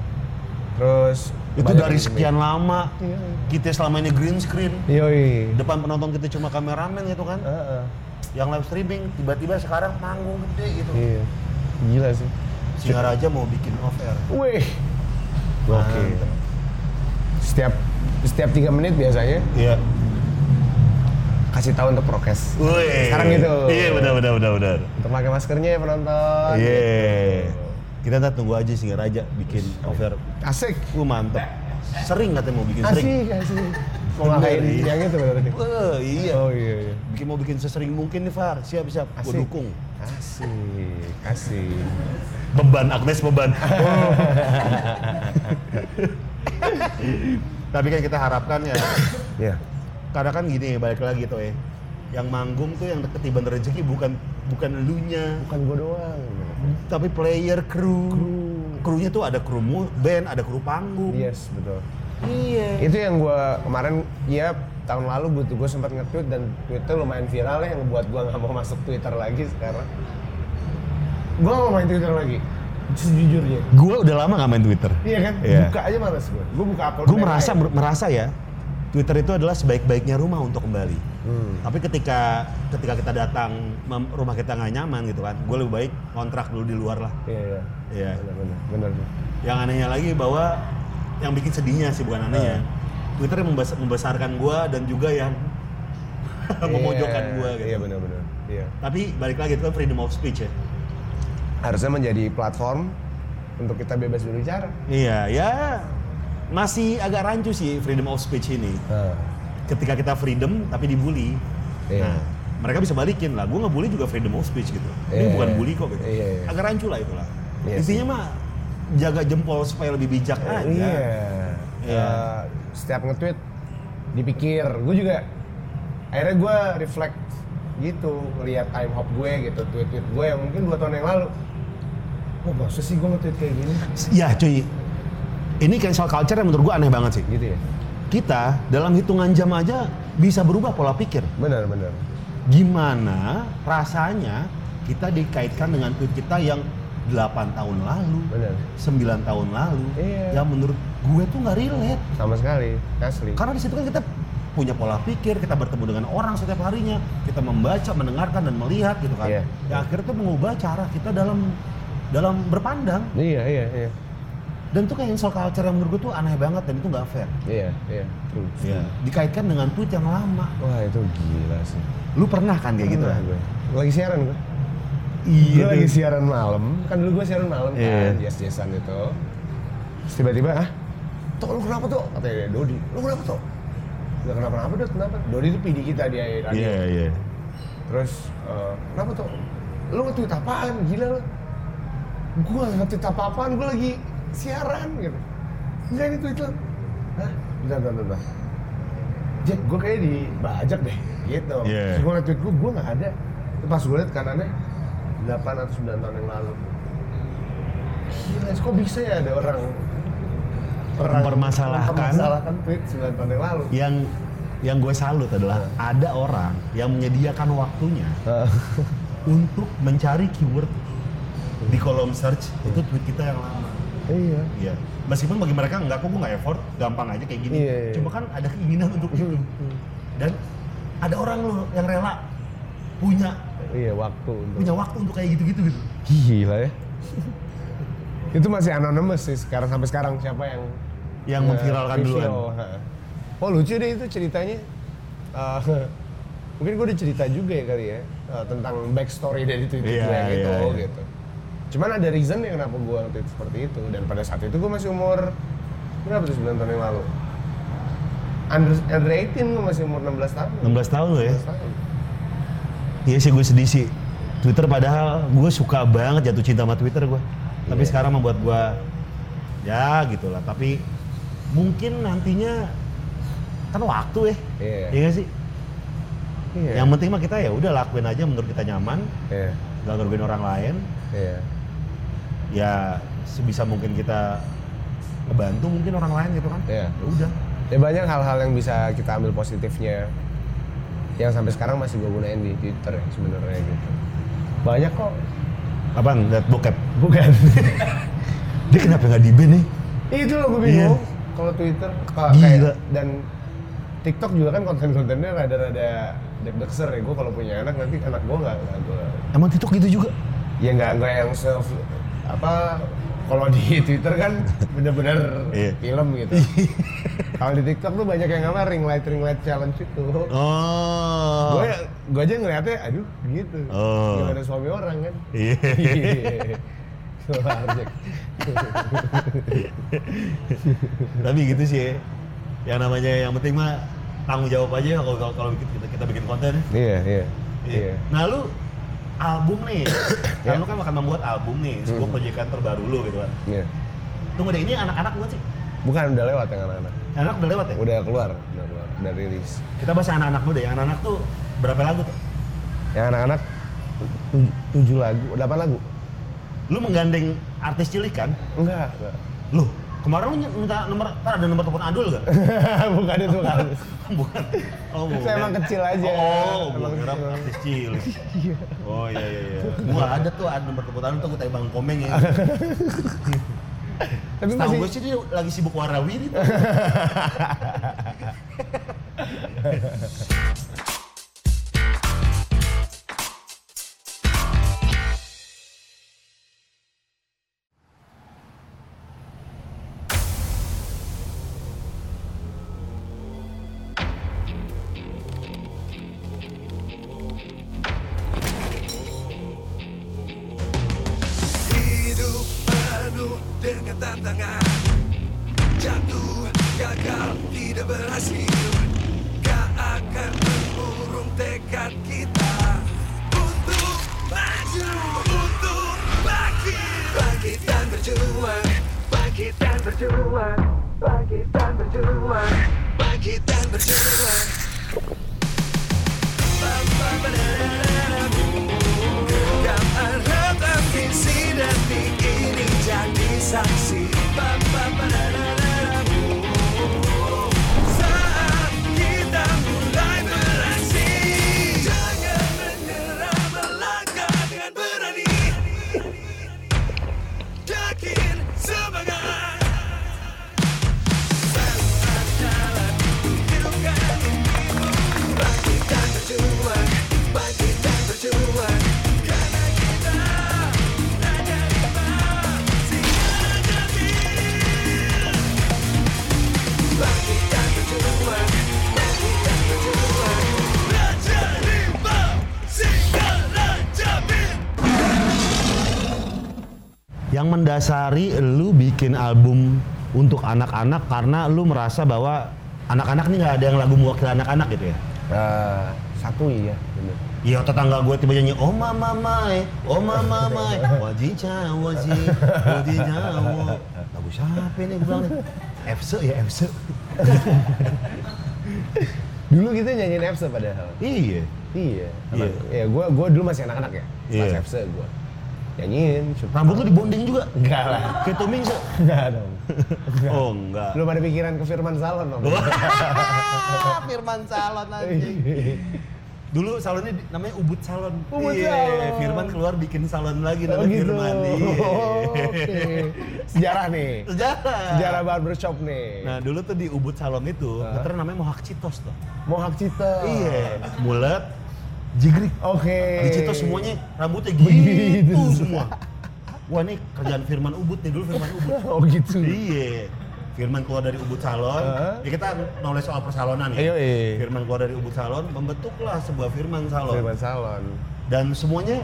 B: Terus
A: Itu
B: banyak
A: dari
B: yang-
A: sekian lama
B: Iya.
A: kita selama ini green screen.
B: Yoi.
A: Depan penonton kita cuma kameramen gitu kan.
B: Heeh.
A: yang live streaming tiba-tiba sekarang manggung gede gitu.
B: Iya. Gila sih.
A: Singaraja mau bikin off air. Nah, gitu.
B: Wih. Oke. Setiap setiap tiga menit biasanya
A: Iya.
B: kasih tahu untuk prokes.
A: Wih.
B: Sekarang gitu.
A: Iya benar benar benar benar.
B: Untuk pakai maskernya ya penonton.
A: Iya. Kita ntar tunggu aja Singaraja bikin off air.
B: Asik.
A: Wah mantap. Sering katanya mau bikin sering.
B: Asik, asik. gitu, Mau
A: Bener,
B: ngapain
A: iya.
B: yang itu berarti.
A: Wah, iya.
B: Oh iya iya.
A: Bikin mau bikin sesering mungkin nih Far. Siap siap. Gue
B: Asik.
A: dukung.
B: Asik, asik.
A: Beban Agnes
B: [LAUGHS]
A: beban. [LAUGHS] Tapi kan kita harapkan ya
B: Ya.
A: karena kan gini balik lagi tuh ya yang manggung tuh yang ketiban rezeki bukan bukan elunya
B: Bukan gua doang.
A: tapi player kru krunya tuh ada kru mu- band ada kru panggung
B: Yes, betul.
A: iya
B: Itu yang gua kemarin ya tahun lalu butuh gua sempat nge-tweet dan Twitter lumayan viral ya yang buat gua nggak mau masuk Twitter lagi sekarang. Gua nggak mau main Twitter lagi. Sejujurnya.
A: gue udah lama nggak main twitter
B: Iya kan?
A: Iya.
B: Buka aja males gua. Gua buka Apple.
A: gue
B: Pay
A: merasa
B: lain.
A: merasa ya twitter itu adalah sebaik-baiknya rumah untuk kembali
B: Hmm.
A: tapi ketika ketika kita datang mem- rumah kita nggak nyaman gitu kan gue lebih baik kontrak dulu di luar lah
B: Iya, iya.
A: Iya.
B: Benar, benar. Benar. benar.
A: yang anehnya lagi bahwa yang bikin sedihnya sih bukan anehnya Twitter yang membes- membesarkan gua dan juga yang [LAUGHS] [LAUGHS] memojokkan
B: Iya,
A: gua gitu
B: Iya, benar benar. Iya.
A: tapi balik lagi itu kan freedom of speech ya
B: harusnya menjadi platform untuk kita bebas berbicara.
A: iya ya masih agak rancu sih freedom of speech ini ketika kita freedom tapi dibully
B: Iya.
A: nah mereka bisa balikin lah gua ngebully juga freedom of speech gitu ini
B: Iya,
A: bukan
B: iya.
A: bully kok gitu
B: Iya, iya.
A: agak rancu lah itulah
B: Iya
A: intinya mah jaga jempol supaya lebih bijak aja
B: Iya.
A: Iya.
B: Eh, setiap nge-tweet dipikir, gue juga akhirnya gue reflect gitu lihat time hop gue gitu tweet-tweet gue yang mungkin dua tahun yang lalu kok masa sih gue nge-tweet kayak gini
A: Ya cuy, ini cancel culture yang menurut gua aneh banget sih.
B: gitu ya
A: Kita dalam hitungan jam aja bisa berubah pola pikir.
B: benar benar
A: Gimana rasanya kita dikaitkan dengan tweet kita yang 8 tahun lalu,
B: benar
A: 9 tahun lalu,
B: Iya.
A: yang menurut gue tuh nggak relate.
B: sama sekali asli
A: Karena di situ kan kita punya pola pikir, kita bertemu dengan orang setiap harinya, kita membaca, mendengarkan dan melihat gitu kan.
B: Iya.
A: Yang akhirnya tuh mengubah cara kita dalam dalam berpandang.
B: iya iya iya
A: Dan itu kayak cancel culture yang menurut gue tuh aneh banget dan itu nggak fair.
B: iya iya true
A: Dikaitkan dengan tweet yang lama.
B: wah itu gila sih
A: Lu pernah kan kayak gitu?
B: Nah,
A: kan?
B: gue lagi siaran gue
A: Iya.
B: Gue
A: Lagi
B: lagi siaran malam, kan dulu gue siaran malam
A: Iya.
B: kan, yes yesan itu. Terus tiba-tiba, ah, Tok lu kenapa tuh? Katanya dia, Dodi, lu kenapa tuh? Gak kenapa-napa, Dodi, kenapa? Dodi itu PD kita di air radio.
A: Iya, iya.
B: Terus, eh, kenapa tuh? Lu nge-tweet apaan? Gila lu. Gue nge-tweet apa-apaan, gue lagi siaran gitu. Enggak ini tweet lu. Hah? Bentar, bentar, bentar. Jack, gue kayaknya dibajak deh. Gitu.
A: Iya.
B: Terus gue nge-tweet gue, gue gak ada. Terus pas gue liat kanannya, 8 atau 9 tahun yang lalu. Gila, kok bisa ya ada orang orang
A: Mempermasalahkan.
B: mempermasalahkan tweet 9 tahun yang lalu.
A: yang yang gue salut adalah ada orang yang menyediakan waktunya
B: Iya.
A: untuk mencari keyword di kolom search itu tweet kita yang lama.
B: iya.
A: Iya. Meskipun bagi mereka enggak kok gue nggak effort, gampang aja kayak gini.
B: Iya, iya.
A: Cuma kan ada keinginan untuk itu. Dan ada orang loh yang rela punya
B: Iya, waktu untuk.
A: punya waktu untuk kayak gitu-gitu gitu.
B: Gila ya. Itu masih anonymous sih sekarang sampai sekarang siapa yang
A: Yang
B: eh,
A: memviralkan
B: review,
A: duluan.
B: ha. Oh lucu deh itu ceritanya. Eh, [LAUGHS] mungkin gue udah cerita juga ya kali ya eh, tentang backstory dari Twitter
A: Iya,
B: gue yang itu
A: iya, iya.
B: gitu. Cuman ada reason ya kenapa gue waktu itu seperti itu dan pada saat itu gue masih umur berapa tuh 9 tahun yang lalu. Under, under 18 gue masih umur 16 tahun.
A: 16 tahun lo ya.
B: 16 tahun.
A: Iya sih gue sedih sih. Twitter padahal gue suka banget jatuh cinta sama Twitter gue. Tapi
B: Iya.
A: sekarang membuat gue ya gitulah. Tapi mungkin nantinya kan waktu ya.
B: Iya.
A: Iya nggak sih?
B: Iya.
A: Yang penting mah kita ya udah lakuin aja menurut kita nyaman,
B: Iya.
A: gak ngerugiin orang lain.
B: Iya.
A: Ya sebisa mungkin kita ngebantu mungkin orang lain gitu kan.
B: Iya.
A: Ya udah.
B: ya banyak hal-hal yang bisa kita ambil positifnya yang sampai sekarang masih gue gunain di Twitter ya sebenarnya gitu banyak kok
A: Apa ngeliat bokep?
B: bukan
A: Dia kenapa nggak di ban nih?
B: [LAUGHS] itu loh gue
A: Iya.
B: bingung kalau Twitter kalau kayak-
A: Gila.
B: dan TikTok juga kan konten-kontennya rada-rada deg-degser ya gue kalau punya anak nanti anak gue nggak nggak gue
A: Emang TikTok gitu juga?
B: ya nggak nggak yang se apa kalau di [LAUGHS] Twitter kan bener-bener
A: Iya.
B: film gitu kalau di TikTok tuh banyak yang apa ring light ring light challenge itu
A: Oh.
B: gue gue ya, aja ngeliatnya aduh gitu
A: Oh.
B: gimana suami orang kan
A: [LAUGHS] Iya.
B: Solar Jack.
A: tapi gitu sih ya. yang namanya yang penting mah tanggung jawab aja kalau kalau- kalau kita, kita bikin konten
B: iya iya iya Ya.
A: nah lu album
B: [COUGHS]
A: nih kan lu kan akan membuat album nih sebuah
B: Hmm.
A: proyekan terbaru lu gitu kan
B: iya
A: tunggu deh ini anak-anak buat sih
B: bukan udah lewat yang anak-anak
A: anak udah lewat ya
B: udah keluar udah keluar udah rilis
A: kita bahas yang anak-anak dulu deh yang anak-anak tuh berapa lagu tuh
B: yang anak-anak tu- tujuh lagu delapan lagu
A: lu menggandeng artis cilik kan
B: enggak enggak [LAUGHS]
A: lu kemarin lu ny- minta nomor ntar ada nomor telepon Adul gak?
B: bukan itu bukan
A: bukan oh
B: Saya emang kecil aja.
A: oh gue
B: Emang
A: kira
B: kecil.
A: artis
B: [LAUGHS]
A: cilik oh iya iya iya gua ada tuh ada nomor telepon Adul tuh gue tanya bang komeng
B: [LAUGHS]
A: ya
B: tapi
A: Tahu
B: masih
A: gue sih dia lagi sibuk warawiri tuh.
B: [LAUGHS]
C: Hidup penuh dengan tantangan Jatuh, gagal, tidak berhasil Gak akan mengurung tekad kita Untuk maju, untuk bangkit Bangkit dan berjuang Bangkit dan berjuang Bangkit dan berjuang Bangkit dan berjuang Gam harap ambisi dan ini jadi saksi Saat kita mulai beraksi Jangan menyerah melangkah dengan berani Yakin semangat Saat jalan itu hidupkan mimpimu Bangkit dan berjuang, bangkit dan berjuang
A: Yang mendasari lu bikin album untuk anak-anak karena lu merasa bahwa anak-anak nih nggak ada yang lagu mewakili anak-anak gitu ya.
B: Eh, satu iya bener
A: Iya tetangga gue tiba nyanyi oh mama mai, oh mama mai,
B: [LAUGHS]
A: waji cha waji, waji jawo. Lagu siapa ini gue bilang nih? Efse ya Efse.
B: dulu kita nyanyiin Epsa padahal
A: Iya.
B: Iya.
A: Iya.
B: Iya, gua gua Iya, dulu masih anak-anak ya. Mas
A: Iya.
B: FC gue nyanyiin cukup.
A: Rambut lu dibonding juga?
B: enggak lah [LAUGHS]
A: Kayak Tommy so.
B: enggak dong
A: Oh enggak.
B: [LAUGHS] belum ada pikiran ke Firman Salon dong [LAUGHS]
A: Firman Salon anjing. Dulu salonnya di- namanya Ubud Salon.
B: Ubud
A: Iya,
B: Salon.
A: Firman keluar bikin salon lagi
B: oh
A: namanya
B: gitu
A: Firman. Iya.
B: Oh, oke sejarah nih
A: Sejarah.
B: sejarah barbershop nih
A: Nah dulu tuh di Ubud Salon itu,
B: Hah? Ah.
A: veteran namanya Mohak Citos tuh.
B: mohak cita
A: Iya. Mulet, jigrik.
B: oke
A: Di Citos semuanya rambutnya
B: Begitu.
A: gitu semua. Wah ini kerjaan Firman Ubud nih, dulu Firman Ubud.
B: oh gitu
A: Iya. Firman keluar dari Ubud Salon,
B: Heeh.
A: ya kita nulis soal persalonan ya.
B: Ayo, iya.
A: Firman keluar dari Ubud Salon, membentuklah sebuah Firman Salon.
B: Firman Salon
A: Dan semuanya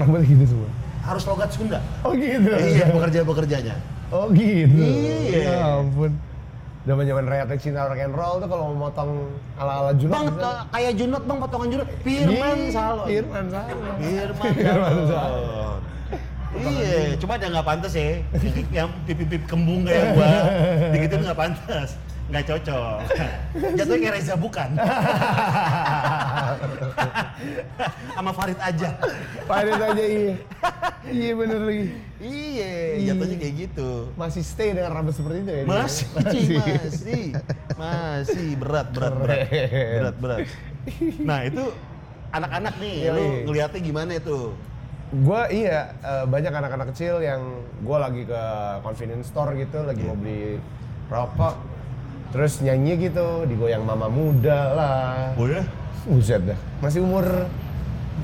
B: rambutnya gitu semua
A: harus logat Sunda.
B: oh gitu
A: iya, pekerja-pekerjanya.
B: Oh gitu.
A: Iya.
B: Ya ampun. Zaman zaman Rayat Cinta Rock and Roll tuh kalau mau motong ala ala junok.
A: Bang,
B: bisa.
A: eh, kayak junot bang, potongan junot. Firman
B: Ih,
A: Salon.
B: Firman Salon. [LAUGHS]
A: Firman,
B: Firman
A: Salon. Iya, cuma ada nggak pantas ya. Yang- Yang pipi-pipi kembung
B: [LAUGHS]
A: kayak gua, begitu nggak pantas, nggak cocok. Jatuhnya kayak Reza
B: [LAUGHS]
A: bukan. Sama Farid aja.
B: Pahit aja iya. Iya bener lagi.
A: Iya,
B: Iya.
A: jatuhnya kayak gitu.
B: Masih stay dengan rambut seperti itu ya? dia? [LAUGHS]
A: Masih, masih, masih berat, berat, berat,
B: Keren.
A: berat, berat. Nah itu anak-anak nih,
B: Iya,
A: lu
B: iya.
A: ngeliatnya gimana itu?
B: Gua iya eh, banyak anak-anak kecil yang gua lagi ke convenience store gitu, lagi
A: Iya.
B: mau beli rokok, terus nyanyi gitu, digoyang mama muda lah.
A: Boleh?
B: Buset dah. Masih umur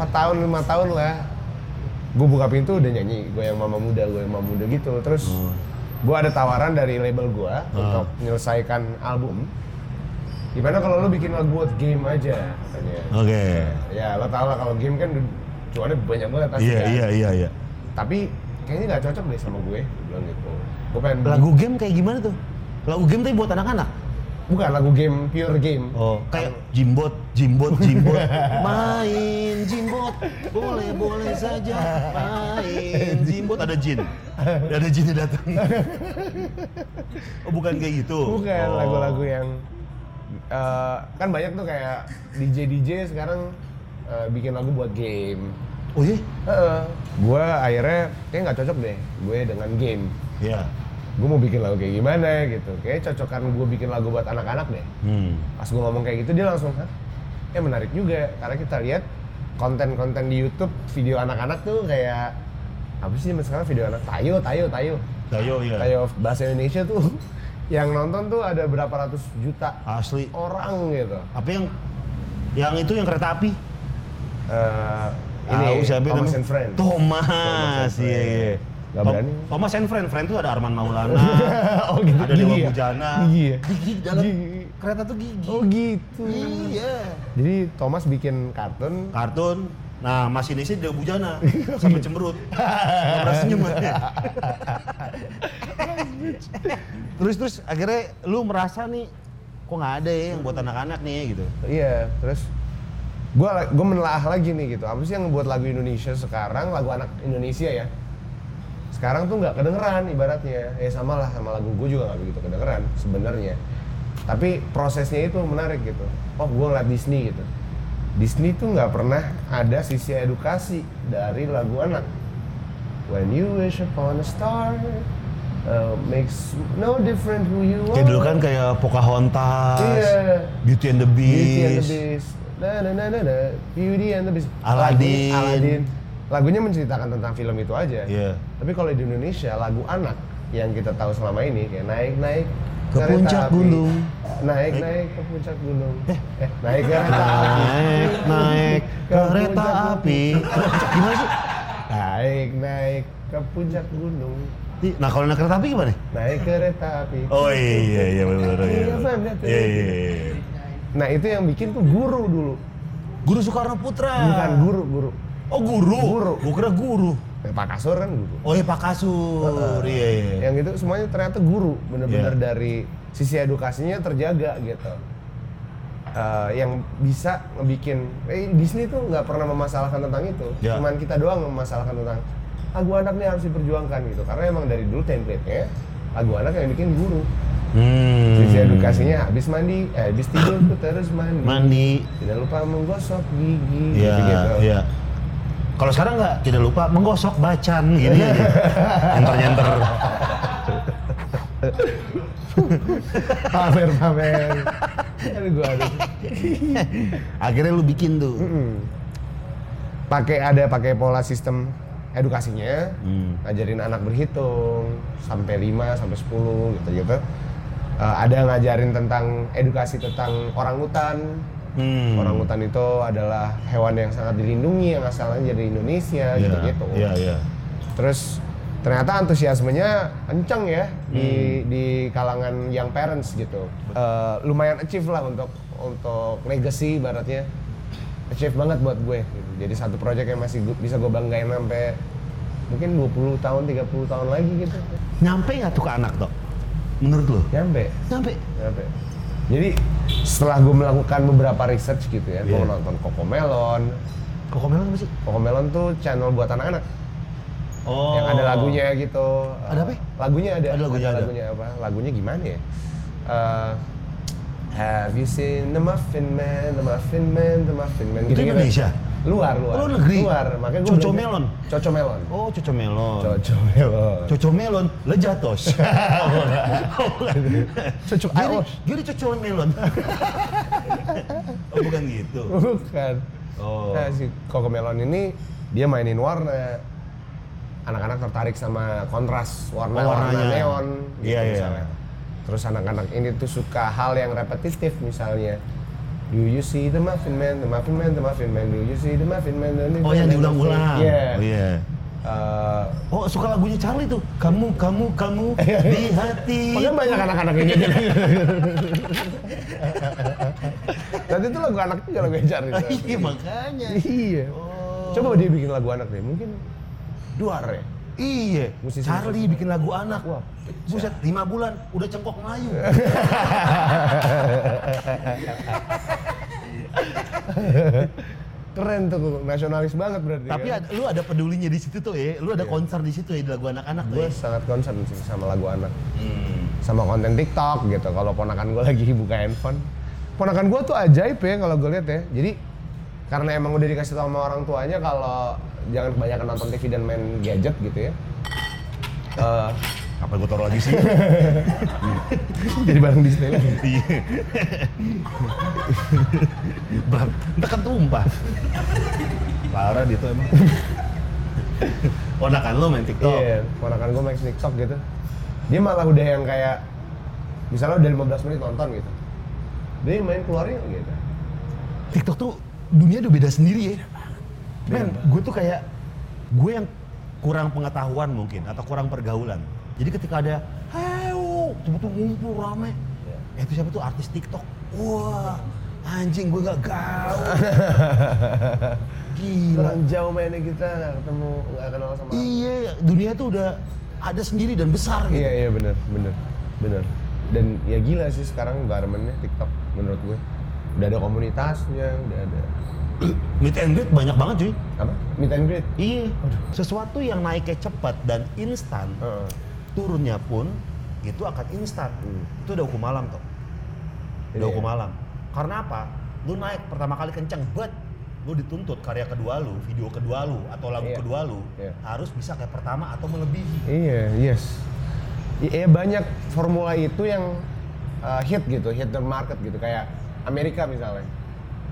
B: 4 tahun, 5 tahun lah. Gue buka pintu udah nyanyi, gue yang mama muda, gue yang mama muda gitu. Terus
A: Oh.
B: gue ada tawaran dari label gue
A: Oh.
B: untuk menyelesaikan album. Gimana kalau lu bikin lagu buat game aja katanya.
A: Oke.
B: Ya lo tau lah kalau game kan du- cuannya banyak banget pasti kan.
A: iya, iya.
B: Tapi kayaknya nggak cocok deh sama gue, gue bilang gitu. Gue pengen
A: Lagu game kayak gimana tuh? Lagu game tapi buat anak-anak.
B: bukan lagu game pure game.
A: Oh, kayak jimbot, jimbot, jimbot. [LAUGHS] Main jimbot, boleh boleh saja. Main [LAUGHS] jimbot ada jin, ada jinnya datang. Oh, bukan kayak gitu.
B: Bukan
A: Oh.
B: lagu-lagu yang eh, kan banyak tuh kayak DJ DJ sekarang eh, bikin lagu buat game.
A: Oh iya,
B: Heeh. Gue akhirnya kayak nggak cocok deh gue dengan game.
A: ya.
B: Gue mau bikin lagu kayak gimana gitu. Kayak cocokan gue bikin lagu buat anak-anak deh.
A: Hmm.
B: Pas gue ngomong kayak gitu dia langsung kan, eh menarik juga karena kita lihat konten-konten di YouTube video anak-anak tuh kayak apa sih zaman sekarang video anak tayo tayo tayo
A: Tayo ya.
B: tayo bahasa Indonesia tuh [LAUGHS] yang nonton tuh ada berapa ratus juta
A: Asli.
B: orang gitu.
A: Apa yang yang itu yang kereta api?
B: Eh,
A: Tahu siapa
B: Thomas
A: namanya?
B: and Friends.
A: Thomas,
B: and
A: iya iya.
B: Friends. Nggak
A: Tom-
B: berani.
A: Thomas and Friend, Friend tuh ada Arman Maulana,
B: [LAUGHS] [LAUGHS] oh gitu.
A: ada Dewa
B: gigi ya?
A: Bujana.
B: Gigi ya?
A: Gigi di dalam
B: Gigi.
A: kereta tuh gigi.
B: Oh gitu.
A: Iya.
B: Jadi Thomas bikin kartun.
A: Kartun. Nah, Mas ini sih Dewa [LAUGHS] Bujana sampai cemberut. Nggak pernah senyum aja. terus terus akhirnya lu merasa nih kok nggak ada ya yang buat anak-anak nih gitu.
B: Iya, terus gua gua menelaah lagi nih gitu. Apa sih yang ngebuat lagu Indonesia sekarang, lagu anak Indonesia ya? Sekarang tuh nggak kedengeran ibaratnya. Ya sama lah sama lagu gue juga nggak begitu kedengeran sebenarnya. Tapi prosesnya itu menarik gitu. Oh, gua ngeliat Disney gitu. Disney tuh nggak pernah ada sisi edukasi dari lagu anak. When you wish upon a star, uh, makes no different who you are.
A: Kayak dulu kan kayak Pocahontas,
B: Iya.
A: Beauty and the
B: Beauty and the
A: Beast.
B: Beast. Na na na na na. Beauty and the Beast.
A: Aladdin.
B: Lagunya- Aladdin. Lagunya menceritakan tentang film itu aja.
A: Iya.
B: Tapi kalau di Indonesia lagu anak yang kita tahu selama ini kayak naik naik
A: Ke
B: kereta
A: puncak
B: api.
A: gunung.
B: Naik naik ke puncak gunung. Eh, naik kereta api.
A: Naik, naik kereta api. Gimana sih?
B: Naik naik ke puncak gunung.
A: Ih, Nah kalau naik kereta api gimana?
B: Naik kereta api.
A: Oh iya iya benar iya.
B: Iya, Fam, lihat,
A: Iya
B: lihat.
A: iya. iya.
B: Nah, itu yang bikin tuh guru dulu.
A: Guru Soekarno Putra.
B: Bukan guru, guru.
A: Oh guru.
B: Guru.
A: Gua kira guru.
B: Eh, Pak Kasur kan guru.
A: Oh iya Pak Kasur. Iya iya.
B: yang itu semuanya ternyata guru bener-bener
A: Iya.
B: dari sisi edukasinya terjaga gitu Eh, yang bisa ngebikin eh, Disney tuh nggak pernah memasalahkan tentang itu
A: Ya.
B: cuman kita doang yang memasalahkan tentang lagu anak nih harus diperjuangkan gitu karena emang dari dulu template-nya lagu anak yang bikin guru
A: Hmm.
B: sisi edukasinya habis mandi eh, habis tidur tuh terus mandi
A: Mandi.
B: tidak lupa menggosok gigi
A: Iya
B: gitu
A: iya. Kalau sekarang nggak, tidak lupa menggosok bacan gitu ya. gini.
B: [LAUGHS]
A: Nyenter-nyenter.
B: pamer pamer [LAUGHS] aduh gua ada
A: Akhirnya lu bikin tuh.
B: Hmm. pakai ada pakai pola sistem edukasinya
A: Hmm.
B: ngajarin anak berhitung sampai 5 sampai 10 gitu gitu ada ngajarin tentang edukasi tentang orang hutan
A: Hmm.
B: orang hutan itu adalah hewan yang sangat dilindungi yang asalnya dari Indonesia
A: Iya,
B: gitu gitu
A: Iya, iya.
B: terus ternyata antusiasmenya kencang ya di di kalangan yang parents gitu Eh, lumayan achieve lah untuk untuk legacy baratnya achieve banget buat gue gitu. jadi satu project yang masih gu- bisa gue banggain sampai mungkin 20 tahun 30 tahun lagi gitu
A: Nyampe nggak tuh ke anak dok? Menurut lu?
B: nyampe
A: Nyampe.
B: Kenapa ya? jadi setelah gue melakukan beberapa research gitu ya gue
A: Iya.
B: nonton Kokomelon
A: Kok komen apa sih?
B: Kokomelon tuh channel buat anak-anak
A: Oh.
B: yang ada lagunya gitu.
A: Ada apa?
B: Lagunya ada.
A: Ada lagunya, ada.
B: lagunya apa? Lagunya gimana ya? Eh, have you seen the Muffin Man, the Muffin Man, the Muffin Man?
A: Itu Indonesia?
B: Luar, luar.
A: Oh, negeri?
B: Luar, makanya gue
A: Coco Melon?
B: Coco Melon.
A: Oh, cucu melon.
B: Coco Melon.
A: Coco melon,
B: [LAUGHS]
A: lejatos. Oh,
B: Cucu aos.
A: Gini cucu melon. [LAUGHS] oh, bukan gitu.
B: Bukan.
A: Oh.
B: Nah, si Coco Melon ini dia mainin warna. Anak-anak tertarik sama kontras warna,
A: Oh,
B: warna
A: warnanya.
B: neon gitu
A: Iya, iya.
B: misalnya. Terus anak-anak ini tuh suka hal yang repetitif misalnya. Do you see the muffin man, the muffin man, the muffin man, do you see the muffin man? the-
A: Oh, yang diulang-ulang.
B: Iya.
A: Oh, iya.
B: Eh,
A: Oh, suka lagunya Charlie tuh. Kamu, kamu, kamu di hati.
B: Makanya banyak anak-anak
A: [LAUGHS]
B: yang gitu. Tadi tuh lagu anak juga lagu ejar
A: Iya, makanya.
B: Iya.
A: Oh.
B: Coba dia bikin lagu anak deh, mungkin duar ya.
A: Iya,
B: Musisi
A: Charlie
B: musisi.
A: bikin lagu anak.
B: Wah,
A: Buset, lima bulan udah cengkok Melayu.
B: Keren tuh, nasionalis banget berarti.
A: Tapi
B: kan?
A: ada, lu ada pedulinya di situ tuh ya. Lu ada konser di situ ya di lagu anak-anak tuh.
B: gue
A: Ya. Hmm.
B: sangat concern sih sama lagu anak, sama konten TikTok gitu. Kalau ponakan gue [LAUGHS] lagi buka handphone, ponakan gue tuh ajaib ya kalau gue lihat ya. Jadi karena emang udah dikasih tau sama orang tuanya kalau jangan kebanyakan nonton TV dan main gadget gitu ya. Eh, [LAUGHS]
A: Apa gue taruh lagi sih?
B: jadi barang display lagi.
A: Iya. [LAUGHS] Bang, ntar kan tumpah. Parah dia tuh emang. Ponakan lu main TikTok.
B: Iya, ponakan gue main TikTok gitu. Dia malah udah yang kayak misalnya udah 15 menit nonton gitu. Dia yang main keluarin gitu.
A: TikTok tuh dunia udah beda sendiri ya. Men, gue tuh kayak gue yang kurang pengetahuan mungkin atau kurang pergaulan. Jadi ketika ada heu, tiba-tiba ngumpul rame. Eh, itu siapa tuh artis TikTok? Wah, anjing gue gak [LAUGHS] gaul. Gila.
B: Kurang jauh mainnya kita nggak ketemu nggak kenal sama.
A: Iya, dunia tuh udah ada sendiri dan besar gitu.
B: Iya iya benar benar benar. Dan ya gila sih sekarang environmentnya TikTok menurut gue. Udah ada komunitasnya, udah ada
A: Meet and greet banyak banget cuy.
B: apa? Meet and greet.
A: Iya. Sesuatu yang naiknya cepat dan instan,
B: Heeh.
A: turunnya pun itu akan instan. Itu udah hukum alam tuh. Udah
B: Hmm. Iya.
A: hukum alam. Karena apa? Lu naik pertama kali kenceng, bet lu dituntut karya kedua lu, video kedua lu, atau lagu
B: Iya.
A: kedua lu
B: Iya.
A: harus bisa kayak pertama atau melebihi.
B: Iya, yes. Iya banyak formula itu yang uh, hit gitu, hit the market gitu kayak Amerika misalnya.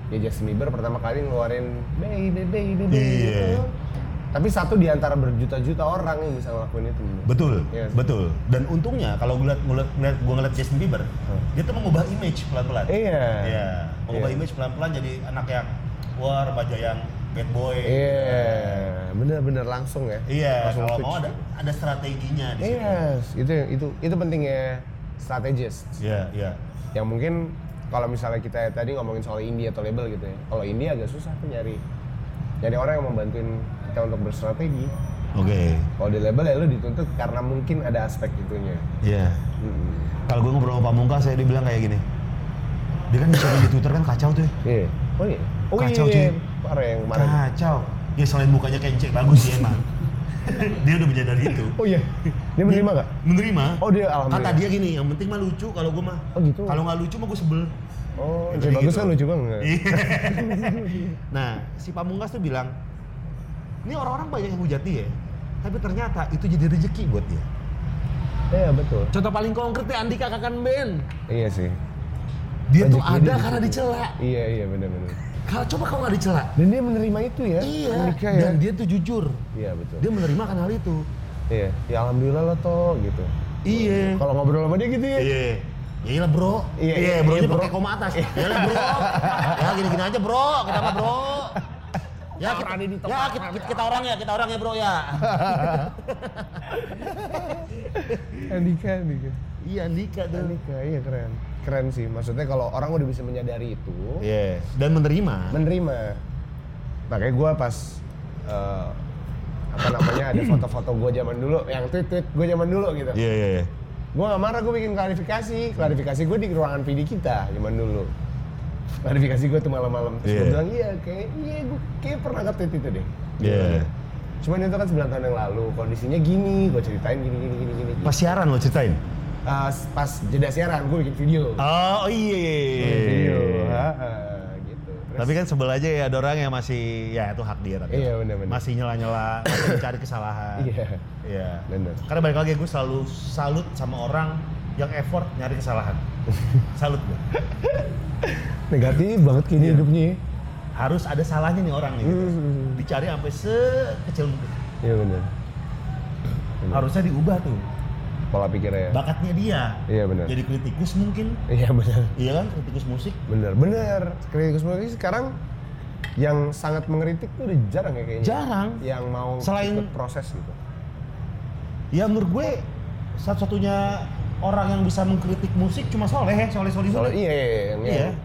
B: Ya Justin Bieber pertama kali ngeluarin baby baby baby.
A: Iya.
B: Tapi satu di antara berjuta-juta orang yang bisa ngelakuin itu.
A: Betul,
B: Yes.
A: betul. Dan untungnya kalau gue ngeliat, ngeliat, ngeliat- gua ngeliat Justin Bieber, dia tuh mengubah image pelan-pelan.
B: Hmm. Iya.
A: Iya. Mengubah
B: Iya.
A: image pelan-pelan jadi anak yang wah remaja yang bad boy.
B: Iya, bener-bener langsung ya.
A: Iya,
B: Langsung Iya.
A: kalau
B: switch.
A: mau ada ada strateginya di situ.
B: Yes, itu itu itu pentingnya strategis.
A: Iya, iya.
B: Yang Ya mungkin kalau misalnya kita tadi ngomongin soal indie atau label gitu ya. Kalau indie agak susah tuh nyari nyari orang yang membantuin kita untuk berstrategi.
A: Oke.
B: Kalau di label ya lu dituntut karena mungkin ada aspek itunya.
A: Iya.
B: Hmm.
A: Kalau gue ngobrol sama Pamungkas, saya dibilang kayak gini. Dia kan bisa di Twitter kan kacau tuh. ya.
B: Iya. Oh iya. Oh
A: Kacau,
B: iya.
A: cuy.
B: Parah yang kemarin.
A: Kacau. Dia Iya, selain mukanya kenceng bagus sih emang. dia udah menyadari itu.
B: Oh iya. Dia menerima gak?
A: Menerima.
B: Oh dia
A: Kata
B: alhamdulillah.
A: dia gini, yang penting mah lucu kalau gue mah.
B: Oh, gitu.
A: Kalau nggak lucu mah gue sebel.
B: Oh,
A: Yang
B: jadi
A: kayak
B: bagus
A: gitu.
B: kan lucu banget.
A: nah, si Pamungkas tuh bilang, Ini orang-orang banyak yang hujat dia, tapi ternyata itu jadi rezeki buat dia.
B: Iya betul.
A: Contoh paling konkret ya Andika Kakan Ben.
B: Iya sih.
A: Dia tuh
B: Rezekinya
A: ada
B: dia
A: karena dicela.
B: Iya iya benar-benar.
A: Kalau coba kalau nggak dicela.
B: Dan dia menerima itu ya.
A: Iya.
B: Menikah ya.
A: Dan dia tuh jujur.
B: Iya betul.
A: Dia menerima kan hal itu.
B: Iya. Ya alhamdulillah lah toh gitu.
A: Iya.
B: Kalau ngobrol sama dia gitu ya.
A: Iya. Iya lah bro.
B: Iya,
A: Iya
B: iya,
A: bro
B: iya,
A: nya
B: bro.
A: pakai koma atas. Iya lah bro. Ya gini-gini aja bro. Kita mah bro. Ya kita, ya kita, kita- kita orang ya, kita orang ya bro ya.
B: Andika Andika.
A: iya Andika tuh.
B: Andika iya keren. Keren sih. Maksudnya kalau orang udah bisa menyadari itu,
A: Iya. Dan menerima.
B: menerima. Makanya gue pas eh, apa namanya ada foto-foto gue zaman dulu, yang tweet-tweet gue zaman dulu gitu.
A: Iya iya. iya.
B: Gue gak marah, gue bikin klarifikasi. Klarifikasi gue di ruangan PD kita zaman dulu. Klarifikasi gue tuh malam-malam. Terus gue
A: Iya.
B: bilang, iya kayak, iya gue kayak pernah nge tweet itu deh.
A: Iya.
B: Cuman itu kan 9 tahun yang lalu, kondisinya gini, gue ceritain gini, gini, gini, gini.
A: Pas siaran lo ceritain.
B: Eh, pas jeda siaran, gue bikin video.
A: Oh iya.
B: Bikin video, ha, ha, gitu. Terus,
A: Tapi kan sebel aja ya ada orang yang masih ya itu hak dia. Rat.
B: Iya, benar-benar.
A: Masih nyela-nyela, masih mencari kesalahan.
B: Iya.
A: Iya.
B: Benar.
A: Karena balik lagi gue selalu salut sama orang yang effort nyari kesalahan. salut gue.
B: Negatif banget kayaknya
A: Iya.
B: hidupnya ya.
A: Harus ada salahnya nih orang nih. gitu.
B: Hmm.
A: Dicari sampai sekecil mungkin.
B: Iya benar. Benar.
A: Harusnya diubah tuh.
B: Pola pikirnya. ya.
A: Bakatnya dia.
B: Iya, benar.
A: Jadi kritikus mungkin.
B: Iya benar.
A: Iya kan kritikus musik.
B: Benar, benar. Kritikus musik sekarang yang sangat mengkritik tuh udah jarang ya kayaknya.
A: Jarang.
B: Yang mau
A: Selain-
B: ikut proses gitu.
A: Ya menurut gue satu-satunya orang yang bisa mengkritik musik cuma Soleh ya, Soleh Solihun.
B: Soalnya iya, iya, iya, yang,
A: Iya.
B: yang-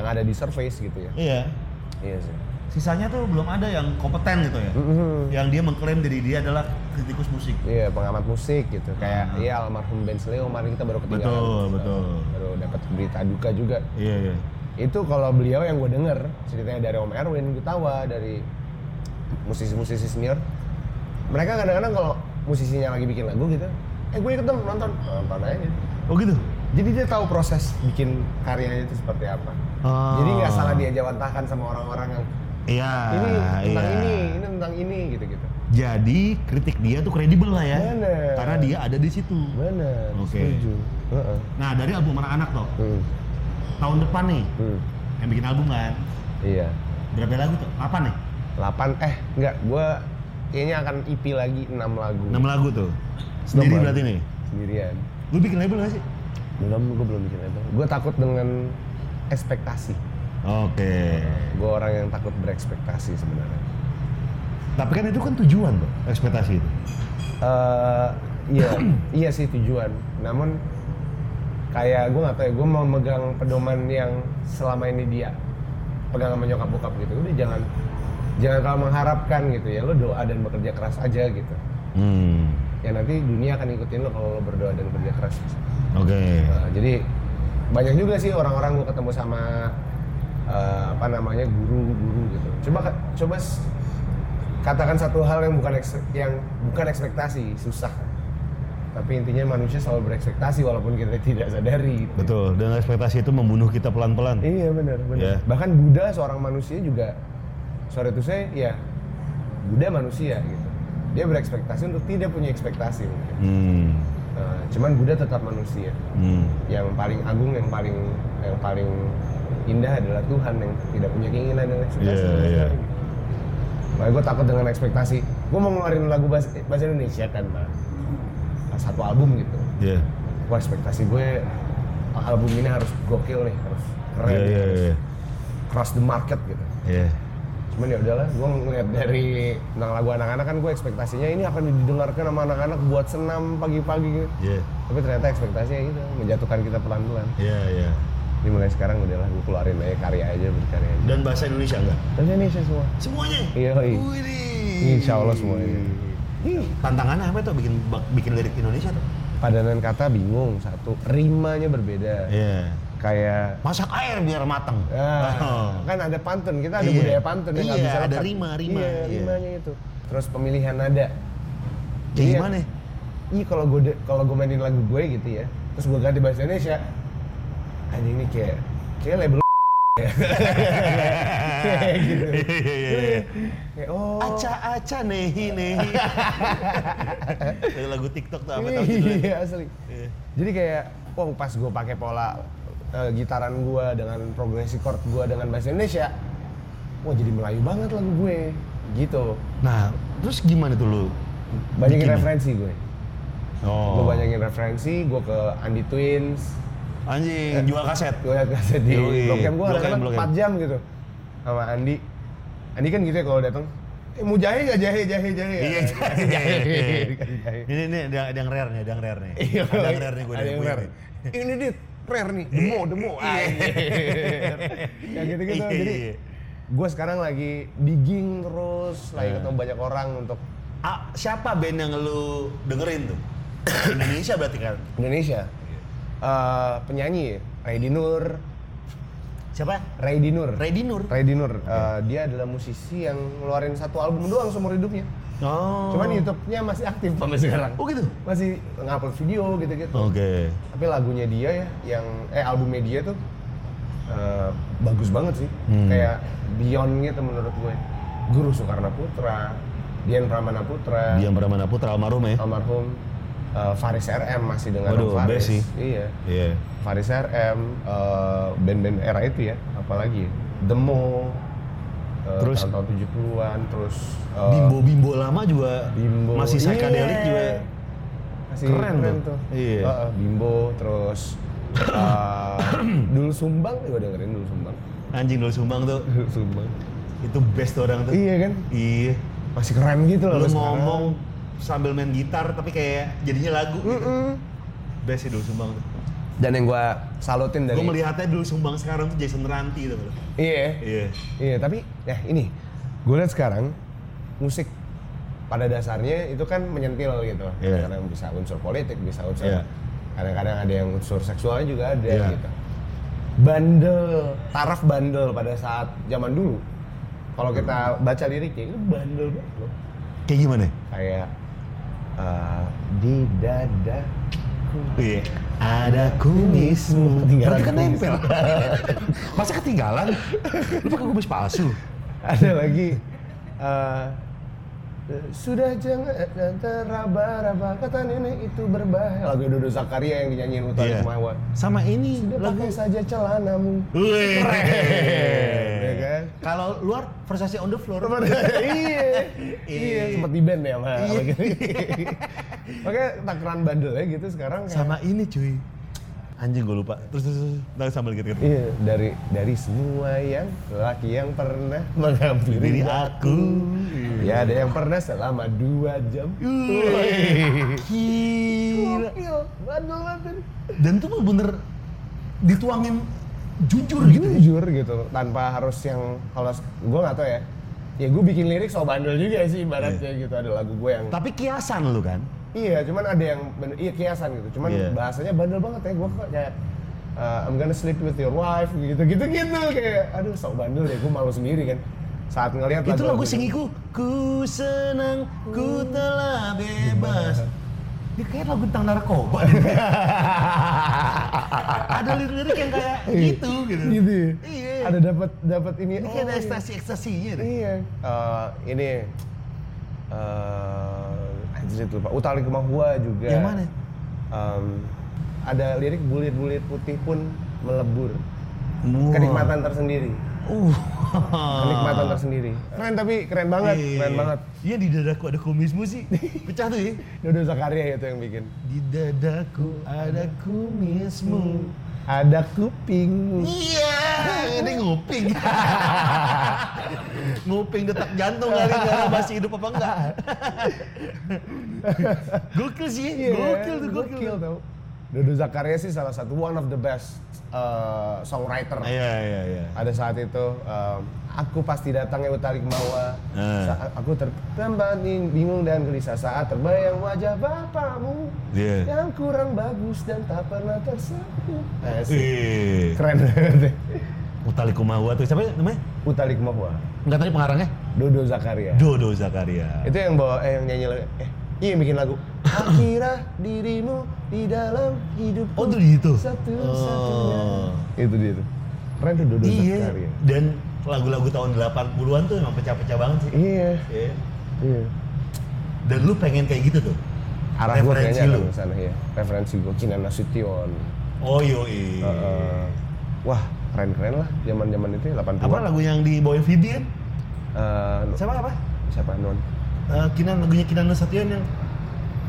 B: yang ada di surface gitu ya.
A: Iya.
B: Iya sih.
A: Sisanya tuh belum ada yang kompeten gitu ya.
B: Mhm.
A: yang dia mengklaim diri dia adalah kritikus musik.
B: Iya, pengamat musik gitu. Kayak
A: Ah.
B: iya almarhum Ben Sleo kemarin kita baru ketinggalan.
A: Betul,
B: gitu.
A: betul.
B: Baru dapat berita duka juga.
A: Iya, iya.
B: Itu kalau beliau yang gue denger ceritanya dari Om Erwin Gutawa dari musisi-musisi senior. Mereka kadang-kadang kalau musisinya lagi bikin lagu gitu, eh gue ikut dong nonton, nonton aja.
A: Oh gitu.
B: Jadi dia tahu proses bikin karyanya itu seperti apa.
A: Ah.
B: Jadi nggak salah dia jawantahkan sama orang-orang yang
A: Iya.
B: ini tentang
A: iya.
B: ini, ini tentang ini gitu-gitu.
A: Jadi kritik dia tuh kredibel lah ya.
B: Bener.
A: Karena dia ada di situ.
B: Benar.
A: Oke.
B: Setuju. Heeh.
A: Nah, dari album anak-anak toh.
B: Hmm,
A: Tahun depan nih
B: hmm.
A: yang bikin album kan.
B: Iya.
A: Berapa lagu tuh? 8 nih.
B: 8 eh enggak, gua kayaknya akan EP lagi 6 lagu.
A: 6 lagu tuh. Sendiri
B: Belum,
A: berarti nih.
B: Sendirian.
A: Lu bikin label gak sih?
B: Belum, gua belum bikin label. Gua takut dengan ekspektasi.
A: Oke.
B: Gua orang yang takut berekspektasi sebenarnya.
A: Tapi kan itu kan tujuan, Bro. Ekspektasi itu.
B: eh iya, iya sih tujuan. Namun kayak gue nggak tahu ya, gue mau megang pedoman yang selama ini dia pegang sama nyokap bokap gitu. Udah jangan jangan kalau mengharapkan gitu ya, lo doa dan bekerja keras aja gitu.
A: Hmm.
B: Ya nanti dunia akan ngikutin lo kalau lo berdoa dan bekerja keras.
A: Oke.
B: Nah, jadi banyak juga sih orang-orang gue ketemu sama eh, apa namanya guru-guru gitu. Coba ka- coba s- katakan satu hal yang bukan eks- yang bukan ekspektasi susah. Tapi intinya manusia selalu berekspektasi walaupun kita tidak sadari. gitu.
A: Betul. Dan ekspektasi itu membunuh kita pelan-pelan.
B: Iya benar benar.
A: Iya.
B: Bahkan Buddha seorang manusia juga sorry itu saya ya Buddha manusia gitu. Dia berekspektasi untuk tidak punya ekspektasi. mungkin.
A: Hmm.
B: Eh, cuman Buddha tetap manusia
A: Hmm.
B: yang paling agung yang paling yang paling indah adalah Tuhan yang tidak punya keinginan dan ekspektasi.
A: Iya, iya.
B: Makanya gue takut dengan ekspektasi. Gue mau ngeluarin lagu bahasa, bahasa Indonesia kan, Bang. satu album gitu.
A: Iya.
B: Wah ekspektasi gue album ini harus gokil nih, harus keren,
A: Iya, iya,
B: harus
A: iya.
B: cross the market gitu.
A: Iya.
B: Cuman ya udahlah, gue ngeliat dari tentang lagu anak-anak kan gue ekspektasinya ini akan didengarkan sama anak-anak buat senam pagi-pagi gitu.
A: Iya.
B: Tapi ternyata ekspektasinya gitu, menjatuhkan kita pelan-pelan.
A: Iya, iya.
B: Ini mulai sekarang udahlah gue keluarin aja karya aja berkarya aja.
A: Dan bahasa Indonesia enggak?
B: Dan Indonesia semua.
A: Semuanya.
B: Iya, iya.
A: Widih.
B: Insya Allah semuanya. Ih,
A: Tantangannya apa tuh bikin bak- bikin lirik Indonesia tuh?
B: Padanan kata bingung satu, rimanya berbeda.
A: Iya.
B: Kayak
A: Masak air biar mateng.
B: ah,
A: [LAUGHS] Oh.
B: kan ada pantun, kita ada
A: Iya.
B: budaya pantun yang nggak
A: Iya,
B: bisa
A: ada
B: lekat.
A: rima, rima.
B: Iya,
A: Iya.
B: rimanya itu. Terus pemilihan nada.
A: Jadi
B: Iya.
A: gimana?
B: Ih, kalau gue de- kalau gue mainin lagu gue gitu ya, terus gue ganti bahasa Indonesia. Anjing ini kayak kayak label [LAUGHS]
A: gitu.
B: Iya, Kayak, oh
A: Aca-aca nehi
B: [LAUGHS]
A: nehi. Kayak lagu TikTok tuh apa tahu judulnya.
B: iya asli.
A: gitu Iya.
B: Jadi kayak, wah pas gue pakai pola eh, gitaran gue dengan progresi chord gue dengan bahasa Indonesia, wah jadi Melayu banget lagu gue, gitu.
A: Nah, terus gimana tuh lu?
B: Banyakin
A: Bikinnya?
B: referensi gue. Gue
A: ya? Oh.
B: banyakin referensi, gue ke Andi Twins, Eh.
A: Anjing, jual
B: [LAUGHS]
A: kaset.
B: gue liat kaset di
A: Yoi.
B: Blok M gue
A: Blok M,
B: kadang
A: Blok M.
B: 4 jam gitu sama Andi. Andi kan gitu ya kalau datang, eh, mau jahe gak jahe, jahe, jahe.
A: Iya,
B: Dikasih jahe. Dikasih jahe.
A: Ini nih ada, ada yang rare nih, ada yang rare nih.
B: [LAUGHS] Iya,
A: ada yang rare nih gue
B: ada yang rare. Ini dit, rare nih,
A: [LAUGHS]
B: demo, demo. Ya gitu-gitu.
A: Iya,
B: Jadi
A: iya.
B: gue sekarang lagi digging terus, lagi
A: Nah.
B: ketemu banyak orang untuk
A: Ah, siapa band yang lu
B: [COUGHS]
A: dengerin tuh? Indonesia berarti kan.
B: Indonesia. Eh, penyanyi Ray Dinur,
A: Siapa?
B: Ray Dinur.
A: Reddy Nur.
B: Ray Dinur, eh, dia adalah musisi yang ngeluarin satu album doang seumur hidupnya.
A: Oh.
B: Cuman YouTube-nya masih aktif sampai sekarang.
A: Oh gitu.
B: Masih ngupload video gitu-gitu.
A: Oke.
B: tapi lagunya dia ya yang eh albumnya dia tuh eh, bagus banget sih
A: Hmm.
B: kayak beyond gitu menurut gue Guru Soekarno Putra Dian Pramana Putra
A: Dian Pramana Putra almarhum
B: Iya.
A: ya.
B: almarhum eh, Faris RM masih dengan
A: Waduh,
B: Faris
A: best sih.
B: iya
A: Iya.
B: Faris RM eh, band-band era itu ya apalagi ya Demo eh,
A: Terus?
B: tahun-tahun 70-an terus eh,
A: Bimbo-bimbo lama juga
B: Bimbo.
A: masih psychedelic
B: Iya.
A: juga.
B: Masih
A: Keren
B: keren,
A: tuh.
B: tuh.
A: Iya.
B: Heeh, Bimbo [COUGHS] terus eh, Dul Sumbang juga dengerin Dul Sumbang.
A: Anjing dulu sumbang tuh.
B: Dul Sumbang.
A: Itu best tuh orang tuh.
B: Iya kan?
A: Iya.
B: Masih keren gitu loh.
A: Lu
B: sekarang.
A: ngomong sambil main gitar tapi kayak jadinya lagu gitu.
B: Mm-mm.
A: Best sih dulu sumbang tuh.
B: Dan yang gua salutin dari
A: Gue melihatnya dulu sumbang sekarang tuh Jason Ranti tuh.
B: Iya.
A: Iya.
B: Iya, tapi ya ini gue lihat sekarang musik pada dasarnya itu kan menyentil gitu.
A: Iya.
B: Kadang bisa unsur politik, bisa unsur
A: Iya.
B: kadang-kadang ada yang unsur seksualnya juga ada
A: Iya.
B: gitu. Bandel, taraf bandel pada saat zaman dulu. Kalau kita baca liriknya itu bandel banget loh.
A: Kayak gimana?
B: Kayak eh, di dada
A: Iya. Ada kumismu.
B: Ketinggalan
A: Berarti kan
B: kumis.
A: nempel. [LAUGHS] Masa ketinggalan? Lu pakai kumis palsu.
B: ada lagi eh, sudah jangan eh, teraba-raba kata nenek itu berbahaya lagu Dodo Zakaria yang dinyanyiin Utari
A: Iya.
B: Kumawan
A: Sama ini
B: Sudah
A: lagu
B: pakai saja
A: [LAUGHS]
B: celanamu
A: Wih.
B: ya kan?
A: Kalau luar versi on the floor.
B: iya iya sempat di band ya mah makanya takaran bandelnya gitu sekarang kayak-
A: Sama ini cuy. Anjing gue lupa. Terus terus, terus. Ntar sambil gitu gitu.
B: Iya, dari dari semua yang laki yang pernah
A: Diri
B: menghampiri
A: aku.
B: Ya ada yang pernah selama dua jam.
A: Wih. Gila.
B: Gokil, bandel banget.
A: Dan tuh bener dituangin jujur gitu. ya.
B: jujur gitu tanpa harus yang kalau gue nggak tau ya ya gue bikin lirik so bandel juga sih ibaratnya
A: Iya.
B: gitu ada lagu gue yang
A: Tapi kiasan lu kan.
B: iya cuman ada yang bener, iya kiasan gitu cuman
A: Iya.
B: bahasanya bandel banget ya gue kok kayak uh, I'm gonna sleep with your wife gitu gitu gitu kayak aduh so bandel ya gue malu sendiri kan saat ngelihat
A: Itu lagu
B: itu.
A: singiku. Ku senang, ku telah bebas. Ini kayak lagu tentang [LAUGHS] narkoba. ada lirik-lirik yang kayak gitu gitu.
B: [LAUGHS] gitu ya?
A: Iya.
B: ada dapat dapat ini
A: Ini kayak ada
B: oh, iya.
A: ekstasi-ekstasinya deh.
B: Iya. Eh, ini eh anjir itu lupa. Utali Kemahua juga.
A: Yang mana?
B: Em, ada lirik bulir-bulir putih pun melebur.
A: Wah.
B: Kenikmatan tersendiri.
A: Uh.
B: Kenikmatan tersendiri. Keren tapi keren banget, keren banget.
A: Iya di dadaku ada kumismu sih. Pecah tuh ya.
B: Dodo Zakaria itu yang bikin.
A: Di dadaku ada kumismu.
B: Ada kuping.
A: [LAUGHS] Iya, ini nguping. [LAUGHS] nguping detak jantung kali nggak tahu masih hidup apa enggak. [LAUGHS] gokil sih, gokil tuh Iya, gokil.
B: Iya. tau. Dodo Zakaria sih salah satu one of the best eh, songwriter.
A: Iya, iya, iya.
B: ada saat itu um, aku pasti datang ya utari kemawa
A: Eh.
B: Sa- aku tertempat ning- bingung dan gelisah saat terbayang wajah bapakmu
A: Iya.
B: yang kurang bagus dan tak pernah tersapu
A: Iya. Ih,
B: keren [LAUGHS] banget
A: Utali Kumawa tuh siapa namanya?
B: utari kemawa
A: Enggak tadi pengarangnya?
B: Dodo Zakaria
A: Dodo Zakaria.
B: itu yang bawa eh yang nyanyi lagu eh iya yang bikin lagu akhirah dirimu di dalam hidupku
A: Oh, tuh di situ?
B: satu satunya
A: Oh.
B: itu dia tuh Tren tuh dua-dua
A: Iya.
B: sekali ya.
A: Dan lagu-lagu tahun 80-an tuh emang pecah-pecah banget sih.
B: Iya.
A: Iya.
B: Iya.
A: Dan lu pengen kayak gitu tuh.
B: Arah gue
A: Referensi
B: kayaknya ada
A: lu.
B: ke sana ya. Referensi gue Kinan Nasution.
A: Oh yoi.
B: Heeh. Eh, wah, keren-keren lah zaman-zaman itu ya, 80-an.
A: Apa lagu yang dibawain Vidi kan?
B: Eh, nu-
A: Siapa apa?
B: siapa non?
A: Eh, Kinan lagunya Kinan Nasution yang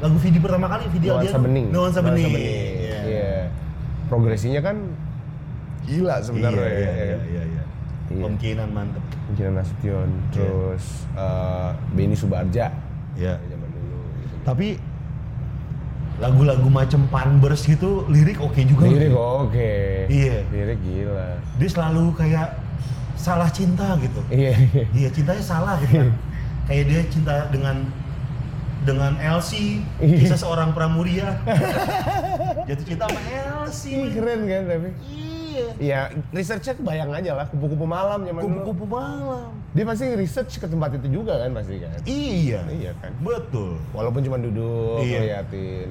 A: lagu Vidi pertama kali Vidi
B: Nuansa bening.
A: Nuansa bening.
B: Iya.
A: Iya.
B: Progresinya kan gila sebenarnya.
A: Iya,
B: ya,
A: iya,
B: ya.
A: iya, iya, iya.
B: Iya.
A: Kemungkinan mantep.
B: Kinan Nasution, terus eh, Benny Subarja. Nah,
A: Iya.
B: Zaman dulu gitu.
A: Tapi lagu-lagu macam Panbers gitu lirik oke juga.
B: Lirik oke.
A: Iya.
B: Lirik gila.
A: Dia selalu kayak salah cinta gitu.
B: Iya.
A: Iya, cintanya salah gitu kan. kayak dia cinta dengan dengan Elsie, kisah seorang pramuria. [LAUGHS] Jatuh cinta sama
B: Ini
A: Elsie. gitu.
B: keren kan tapi.
A: Iya.
B: Ya, researchnya kebayang aja lah, kupu-kupu malam zaman dulu.
A: Kupu-kupu malam.
B: Dia pasti research ke tempat itu juga kan pasti kan.
A: Iya.
B: Iya kan.
A: Betul.
B: Walaupun cuma duduk,
A: Iya.
B: ngeliatin.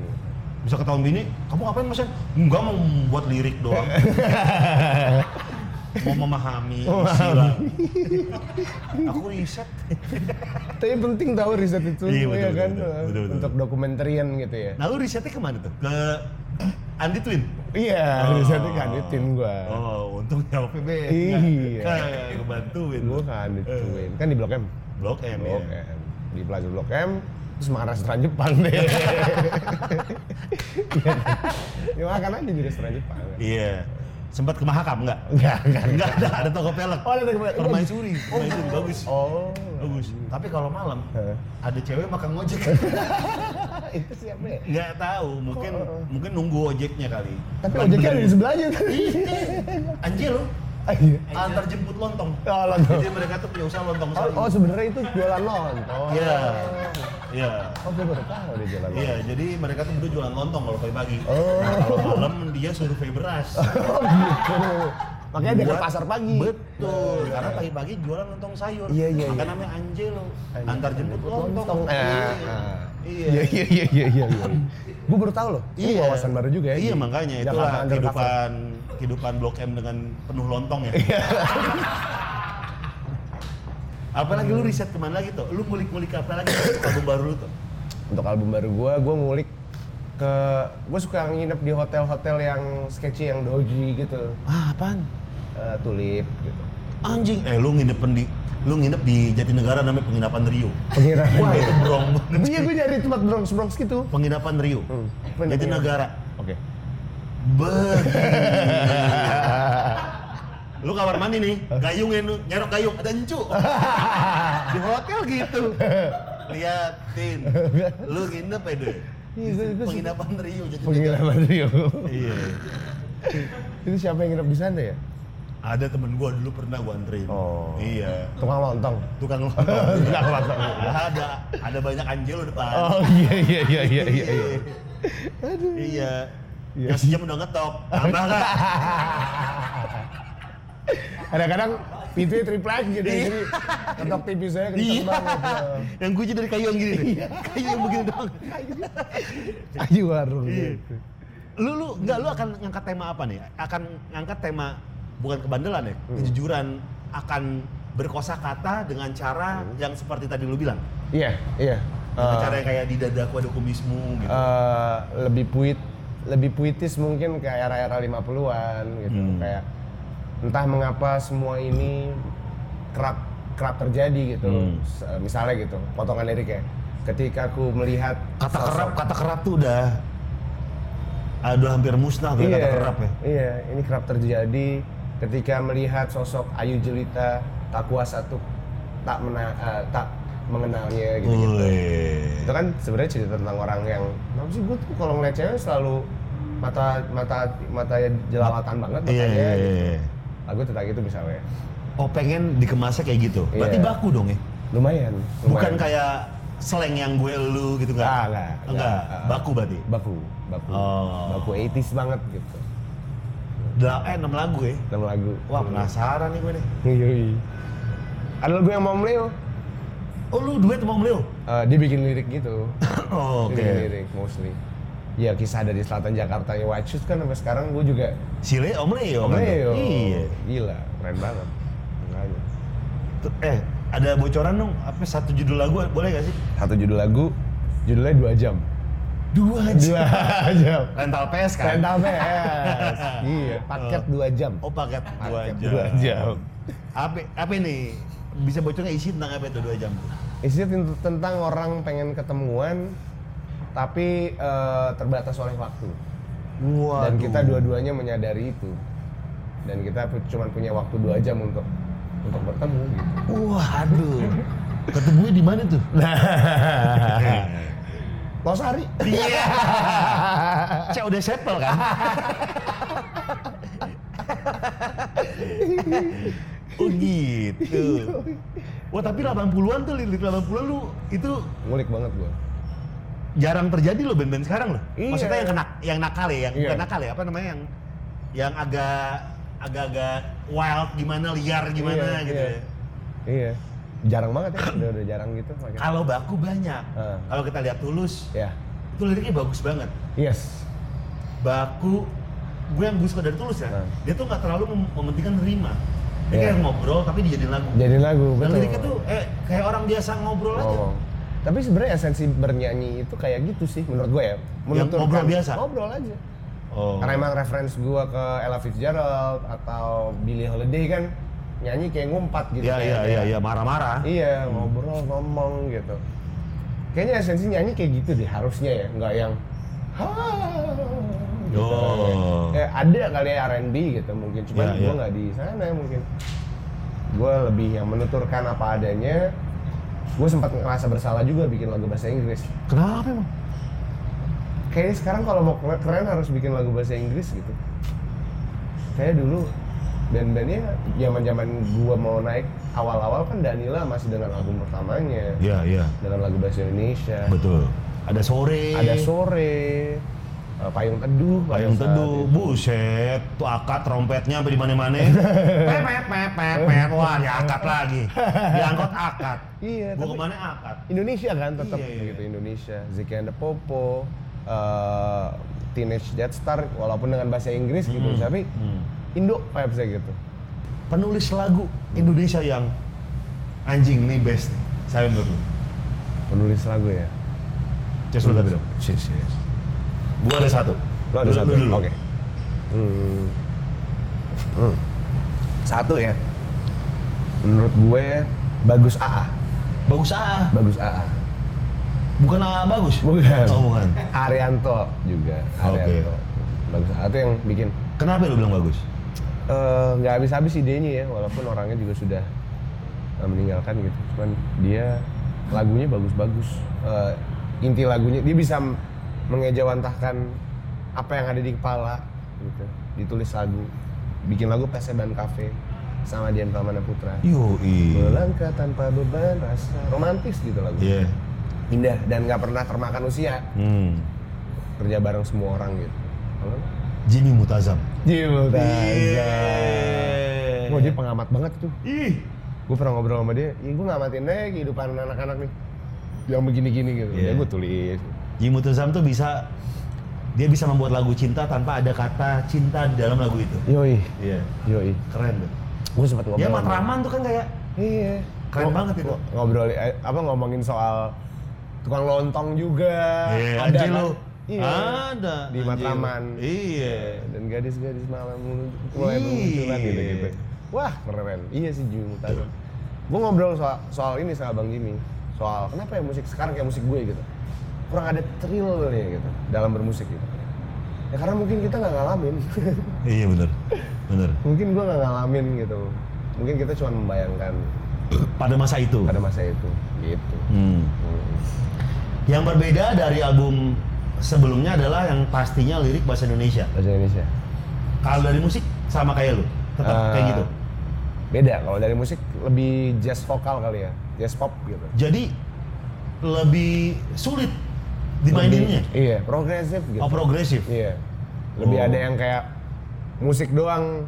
A: Bisa ke tahun bini, kamu ngapain Mas? Yan?" Enggak mau buat lirik doang. mau memahami istilah. Aku riset.
B: Tapi penting tahu riset itu,
A: Iya, betul,
B: ya
A: betul,
B: kan?
A: betul, betul, betul.
B: Untuk dokumenterian gitu ya.
A: Nah, lu risetnya kemana tuh? Ke Andi Twin.
B: Iya, risetnya kan ditin gua.
A: Oh, untung ya OPB.
B: Iya.
A: Kayak kebantuin.
B: Gua kan
A: Eh.
B: dituin. Kan di Blok M.
A: Blok M ya.
B: Blok M. Di Plaza Blok M, terus makan restoran Jepang
A: [LAUGHS]
B: deh. Iya. ya makan aja di restoran Jepang.
A: Iya. Sempat ke Mahakam enggak?
B: Enggak, enggak.
A: Enggak ada, ada toko pelek.
B: Oh, ada toko pelek.
A: Permaisuri, permaisuri bagus.
B: Oh.
A: Bagus. Tapi kalau malam
B: Heeh.
A: ada cewek makan
B: [LAUGHS]
A: ngojek.
B: itu siapa ya?
A: Nggak tahu, mungkin
B: Oh, oh.
A: mungkin nunggu ojeknya kali.
B: Tapi
A: Lagi
B: ojeknya ada
A: bener-
B: di sebelahnya kan?
A: Iya. Anjir lu,
B: [LAUGHS] Ah, iya.
A: antar jemput lontong.
B: Oh, lontong.
A: Jadi mereka tuh punya usaha lontong
B: Oh,
A: sayur.
B: oh sebenarnya itu jualan lontong.
A: Iya. Iya.
B: Oh, gue baru tahu dia jualan lontong.
A: Iya, jadi mereka tuh berdua jualan lontong kalau pagi-pagi.
B: Oh.
A: Nah, kalau malam dia survei
B: [LAUGHS]
A: beras.
B: Oh, gitu. Makanya dia ke
A: Buat-
B: pasar pagi.
A: Iya. Betul, karena pagi-pagi jualan lontong sayur.
B: Iya, iya,
A: Maka
B: iya.
A: namanya Anjel, antar jemput Iya. lontong.
B: Eh,
A: Iya.
B: eh.
A: Iya.
B: Iya, iya, iya, iya, iya. Gue baru tahu loh. Ini wawasan baru juga ya.
A: Iya,
B: di
A: makanya
B: Jakarta
A: itulah
B: Undercover.
A: kehidupan kehidupan Blok M dengan penuh lontong ya. [LAUGHS] Apalagi lu riset kemana lagi tuh? Lu ngulik-ngulik apa lagi tuh? album baru lu tuh?
B: Untuk album baru gue, gue ngulik ke gue suka nginep di hotel-hotel yang sketchy yang doji gitu
A: Ah, apaan?
B: Eh, tulip gitu
A: Anjing, eh lu nginep di lu nginep di Jatinegara namanya penginapan Rio.
B: pengira
A: Wah, itu brong banget.
B: iya gue nyari tempat bronx bronx gitu
A: Penginapan Rio.
B: Hmm.
A: Jatinegara.
B: oke
A: Begini. lu kamar mandi nih, gayungin lu, nyerok gayung, ada
B: [LAUGHS]
A: encu. Di hotel gitu. Liatin. Lu nginep ya deh.
B: Iya, gua- gua-
A: Penginapan Rio jadi
B: pengiraman Rio
A: Iya.
B: itu siapa yang nginep di sana ya
A: Ada temen gua dulu pernah gua anterin.
B: Oh.
A: Iya.
B: tukang lontong
A: Tukang lontong.
B: [LAUGHS] tukang lontong
A: ada, ada banyak anjel lu depan.
B: oh iya iya iya iya iya iya. aduh
A: Iya.
B: Iya.
A: Yang sejam udah ngetok. Tambah nggak?
B: kadang-kadang pintunya triplek gitu
A: Iya.
B: jadi ketok tipis saya kenceng
A: Iya.
B: banget ya.
A: Yang kunci dari kayu yang gini nih.
B: Iya.
A: Kayu yang begini doang.
B: ayo warung
A: Iya.
B: gitu
A: Lu lu enggak lu akan ngangkat tema apa nih? Akan ngangkat tema bukan kebandelan ya, kejujuran akan berkosa kata dengan cara yang seperti tadi lu bilang.
B: iya iya
A: Dengan
B: Eh,
A: cara yang kayak di dadaku ada kumismu gitu.
B: eh, lebih puit lebih puitis mungkin ke era-era 50-an gitu
A: Hmm.
B: kayak entah mengapa semua ini kerap kerap terjadi gitu
A: Hmm.
B: S- eh, misalnya gitu potongan liriknya ketika aku melihat
A: kata
B: sosok-
A: kerap, kata kerap tuh udah udah hampir musnah tuh ya,
B: iya,
A: kata kerap ya.
B: iya ini kerap terjadi ketika melihat sosok Ayu Jelita tak kuasa tuh tak mena- eh, tak mengenalnya gitu
A: Wih.
B: itu kan sebenarnya cerita tentang orang yang kenapa sih gue tuh kalau ngeliat cewek selalu mata mata mata jelalatan banget
A: Iya,
B: matanya
A: iya,
B: gitu.
A: iya.
B: lagu tentang itu misalnya
A: Oh pengen dikemasnya kayak gitu. Berarti
B: Iya.
A: baku dong ya.
B: lumayan, lumayan.
A: Bukan kayak seleng yang gue lu gitu kan?
B: Ah, enggak,
A: Enggak,
B: enggak.
A: baku berarti.
B: baku baku
A: Oh.
B: baku 80s banget gitu
A: Delapan, eh, enam lagu ya.
B: dalam lagu
A: Wah penasaran nih gue nih.
B: Yoi. ada lagu yang mau beliau
A: Oh lu duet sama beliau? [LAUGHS]
B: Eh, dia bikin lirik gitu
A: Oh,
B: Dia bikin lirik mostly ya kisah dari selatan Jakarta ya White Shoes kan sampai sekarang gue juga
A: Sile Om
B: Oh,
A: Leo. kan?
B: Leo.
A: Iya.
B: Gila, keren banget. Makanya.
A: Tuh, Eh, ada bocoran dong. Apa satu judul lagu boleh gak sih?
B: Satu judul lagu, judulnya dua jam.
A: Dua
B: [LAUGHS] Dua jam.
A: Rental PS kan?
B: Rental [LAUGHS] PS. iya, paket dua jam.
A: Oh paket dua
B: Paket
A: jam.
B: dua jam.
A: Apa apa ini? Bisa bocornya isi tentang apa itu dua jam?
B: Isinya ten- tentang orang pengen ketemuan tapi eh, terbatas oleh waktu.
A: Wah.
B: Dan kita dua-duanya menyadari itu. Dan kita pu- cuman punya waktu dua jam untuk untuk bertemu gitu.
A: Wah, aduh. Ketemunya di mana tuh?
B: Losari.
A: Iya. Cek udah sepel [LAUGHS] kan? oh gitu. Wah tapi 80-an tuh, lirik 80-an lu itu
B: Ngulik banget gua.
A: jarang terjadi loh band-band sekarang loh.
B: Iya.
A: Maksudnya yang kena, yang nakal ya, yang
B: Iya.
A: bukan nakal ya, apa namanya yang yang agak agak-agak wild gimana, liar gimana
B: Iya,
A: gitu.
B: iya.
A: ya.
B: Iya. Jarang banget ya, udah, udah jarang gitu. pakai.
A: Kalau baku banyak.
B: Heeh.
A: Kalau kita lihat tulus,
B: Ya.
A: itu liriknya bagus banget.
B: Yes.
A: baku gue yang gue suka dari tulus ya
B: Nah.
A: dia tuh nggak terlalu mem- mementingkan rima dia
B: Iya.
A: kayak ngobrol tapi dijadiin lagu
B: Jadi lagu
A: dan
B: betul.
A: liriknya tuh eh, kayak orang biasa ngobrol aja
B: Ngomong. Tapi sebenarnya esensi bernyanyi itu kayak gitu sih menurut gue ya. Menurut
A: Yang ngobrol biasa?
B: Ngobrol aja.
A: oh.
B: Karena emang reference gue ke Ella Fitzgerald atau Billie Holiday kan nyanyi kayak ngumpat gitu.
A: iya
B: kayak-
A: iya iya
B: kayak-
A: iya marah-marah
B: Iya, ngobrol ngomong gitu. Kayaknya esensi nyanyi kayak gitu deh harusnya ya, nggak yang "Ha", gitu.
A: Oh.
B: Ya, ada kali ya R&B gitu mungkin, cuman
A: Iya,
B: gue
A: iya.
B: nggak di sana mungkin. Gue lebih yang menuturkan apa adanya. Gue sempat ngerasa bersalah juga bikin lagu bahasa Inggris.
A: kenapa emang
B: Kayaknya sekarang kalau mau keren- keren harus bikin lagu bahasa Inggris gitu. Kayak dulu band-bandnya zaman-zaman gue mau naik awal-awal kan Danila masih dengan album pertamanya
A: iya iya
B: dengan lagu bahasa Indonesia.
A: betul ada sore
B: Ada sore, eh, payung teduh, pada
A: Payung
B: saat
A: teduh,
B: itu.
A: buset, tuh akad trompetnya sampai di mana-mana. Pepet, pepet, pepet, wah diangkat lagi. Diangkat akad.
B: Iya,
A: Gua
B: tapi-
A: kemana akad?
B: Indonesia kan tetap
A: Iya, iya.
B: gitu Indonesia. Zeki and the Popo, eh, Teenage Jetstar, walaupun dengan bahasa Inggris gitu,
A: Hmm.
B: tapi Indo vibes-nya gitu.
A: penulis lagu Indonesia yang anjing nih best nih. Saya menurut lu.
B: Penulis lagu ya.
A: Ces lu tapi dong. Yes, yes. Gua ada satu.
B: Lo ada
A: Lu-
B: satu.
A: lu dulu.
B: Oke. Hmm. Hmm. Satu ya. Menurut gue bagus AA,
A: Bagus ah.
B: bagus AA.
A: Bukan ah bagus.
B: Bukan.
A: Oh, bukan.
B: Arianto juga.
A: Oke.
B: Arianto. Bagus. Itu yang bikin
A: Kenapa lu bilang bagus?
B: eh, nggak habis-habis idenya ya, walaupun orangnya juga sudah eh, meninggalkan gitu. Cuman dia lagunya bagus-bagus. Eh, inti lagunya dia bisa m- mengejawantahkan apa yang ada di kepala gitu. Ditulis lagu, bikin lagu Peseban Cafe sama Dian Pramana Putra.
A: Yo
B: Melangkah tanpa beban rasa romantis gitu lagu.
A: Iya.
B: Indah dan nggak pernah termakan usia.
A: Hmm.
B: Kerja bareng semua orang gitu. Kalau lu?
A: Jimmy Mutazam.
B: Jimul
A: Iya.
B: Wah dia pengamat banget tuh.
A: Ih.
B: Gue pernah ngobrol sama dia, ya gue ngamatin aja kehidupan anak-anak nih. Yang begini-gini gitu.
A: Iya.
B: Ya gue tulis.
A: Jimmy Mutazam tuh bisa dia bisa membuat lagu cinta tanpa ada kata cinta di dalam lagu itu.
B: Yoi,
A: Iya.
B: yoi.
A: Keren tuh.
B: Gue sempat ngobrol.
A: Dia
B: sama
A: matraman tuh kan kayak
B: Iya.
A: Keren
B: Ngo-
A: banget itu.
B: Ngobrol, eh, apa ngomongin soal tukang lontong juga.
A: Iya,
B: Ada
A: anjing
B: kan?
A: lu. Ah,
B: Iya.
A: Ada.
B: Di
A: anjing.
B: Matraman.
A: Iya.
B: Dan gadis-gadis malam mulu- mulai
A: Iya.
B: bermunculan gitu-gitu. Wah keren. Iya sih Jimmy Mutazam. Gue ngobrol soal, soal ini sama Bang Jimmy. Soal kenapa ya musik sekarang kayak musik gue gitu. Kurang ada thrill nih gitu dalam bermusik gitu. Ya karena mungkin kita nggak ngalamin. [LAUGHS]
A: Iya benar. Benar.
B: mungkin gue nggak ngalamin gitu. Mungkin kita cuma membayangkan
A: Pada masa itu.
B: pada masa itu gitu.
A: Hmm.
B: Hmm.
A: Yang berbeda dari album sebelumnya adalah yang pastinya lirik bahasa Indonesia.
B: Bahasa Indonesia.
A: Kalau dari musik sama kayak lu, tetap
B: Eh,
A: kayak gitu.
B: Beda kalau dari musik lebih jazz vokal kali ya, jazz pop gitu.
A: Jadi lebih sulit dimaininnya.
B: Lebih- Iya, progresif gitu.
A: Oh progresif.
B: Iya. Lebih
A: Oh.
B: ada yang kayak musik doang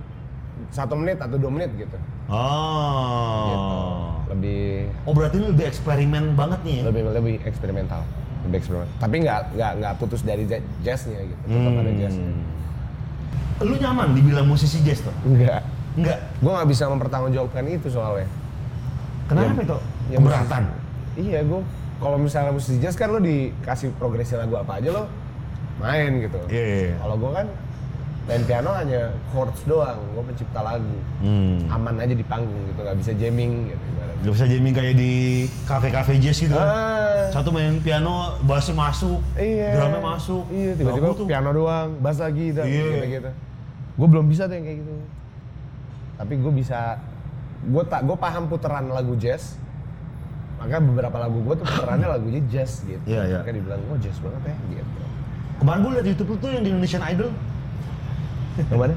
B: satu menit atau dua menit gitu.
A: Oh.
B: Lebih
A: Gitu. Oh berarti ini lebih eksperimen banget nih ya.
B: lebih lebih eksperimental. The Backstreet Boys. Tapi nggak nggak nggak putus dari ja- jazznya gitu. Tetap ada
A: Hmm.
B: jazznya.
A: Lu nyaman dibilang musisi jazz tuh?
B: Enggak.
A: Enggak.
B: Gue nggak bisa mempertanggungjawabkan itu soalnya.
A: Kenapa itu?
B: ya
A: Keberatan.
B: Iya gue. Kalau misalnya musisi jazz kan lo dikasih progresi lagu apa aja lo main gitu.
A: Iya, iya, iya.
B: Kalau gue kan main piano hanya chords doang. Gue pencipta lagu.
A: Hmm.
B: Aman aja di panggung gitu. Nggak bisa jamming gitu. ibaratnya.
A: Gak bisa jamming kayak di kafe-kafe jazz gitu kan.
B: Ah.
A: Satu main piano, bassnya masuk,
B: Iya.
A: drumnya masuk.
B: Iya,
A: Nah,
B: tiba-tiba
A: gua tuh-
B: piano doang, bass lagi dan
A: Iya.
B: gitu-gitu. Gue belum bisa tuh yang kayak gitu. Tapi gue bisa gue tak gue paham puteran lagu jazz. Maka beberapa lagu gue tuh puterannya lagunya jazz gitu.
A: Iya, iya.
B: Maka dibilang gue jazz banget ya
A: [LAUGHS]
B: gitu.
A: Kemarin gue liat di YouTube lu tuh yang di Indonesian Idol,
B: Yang mana?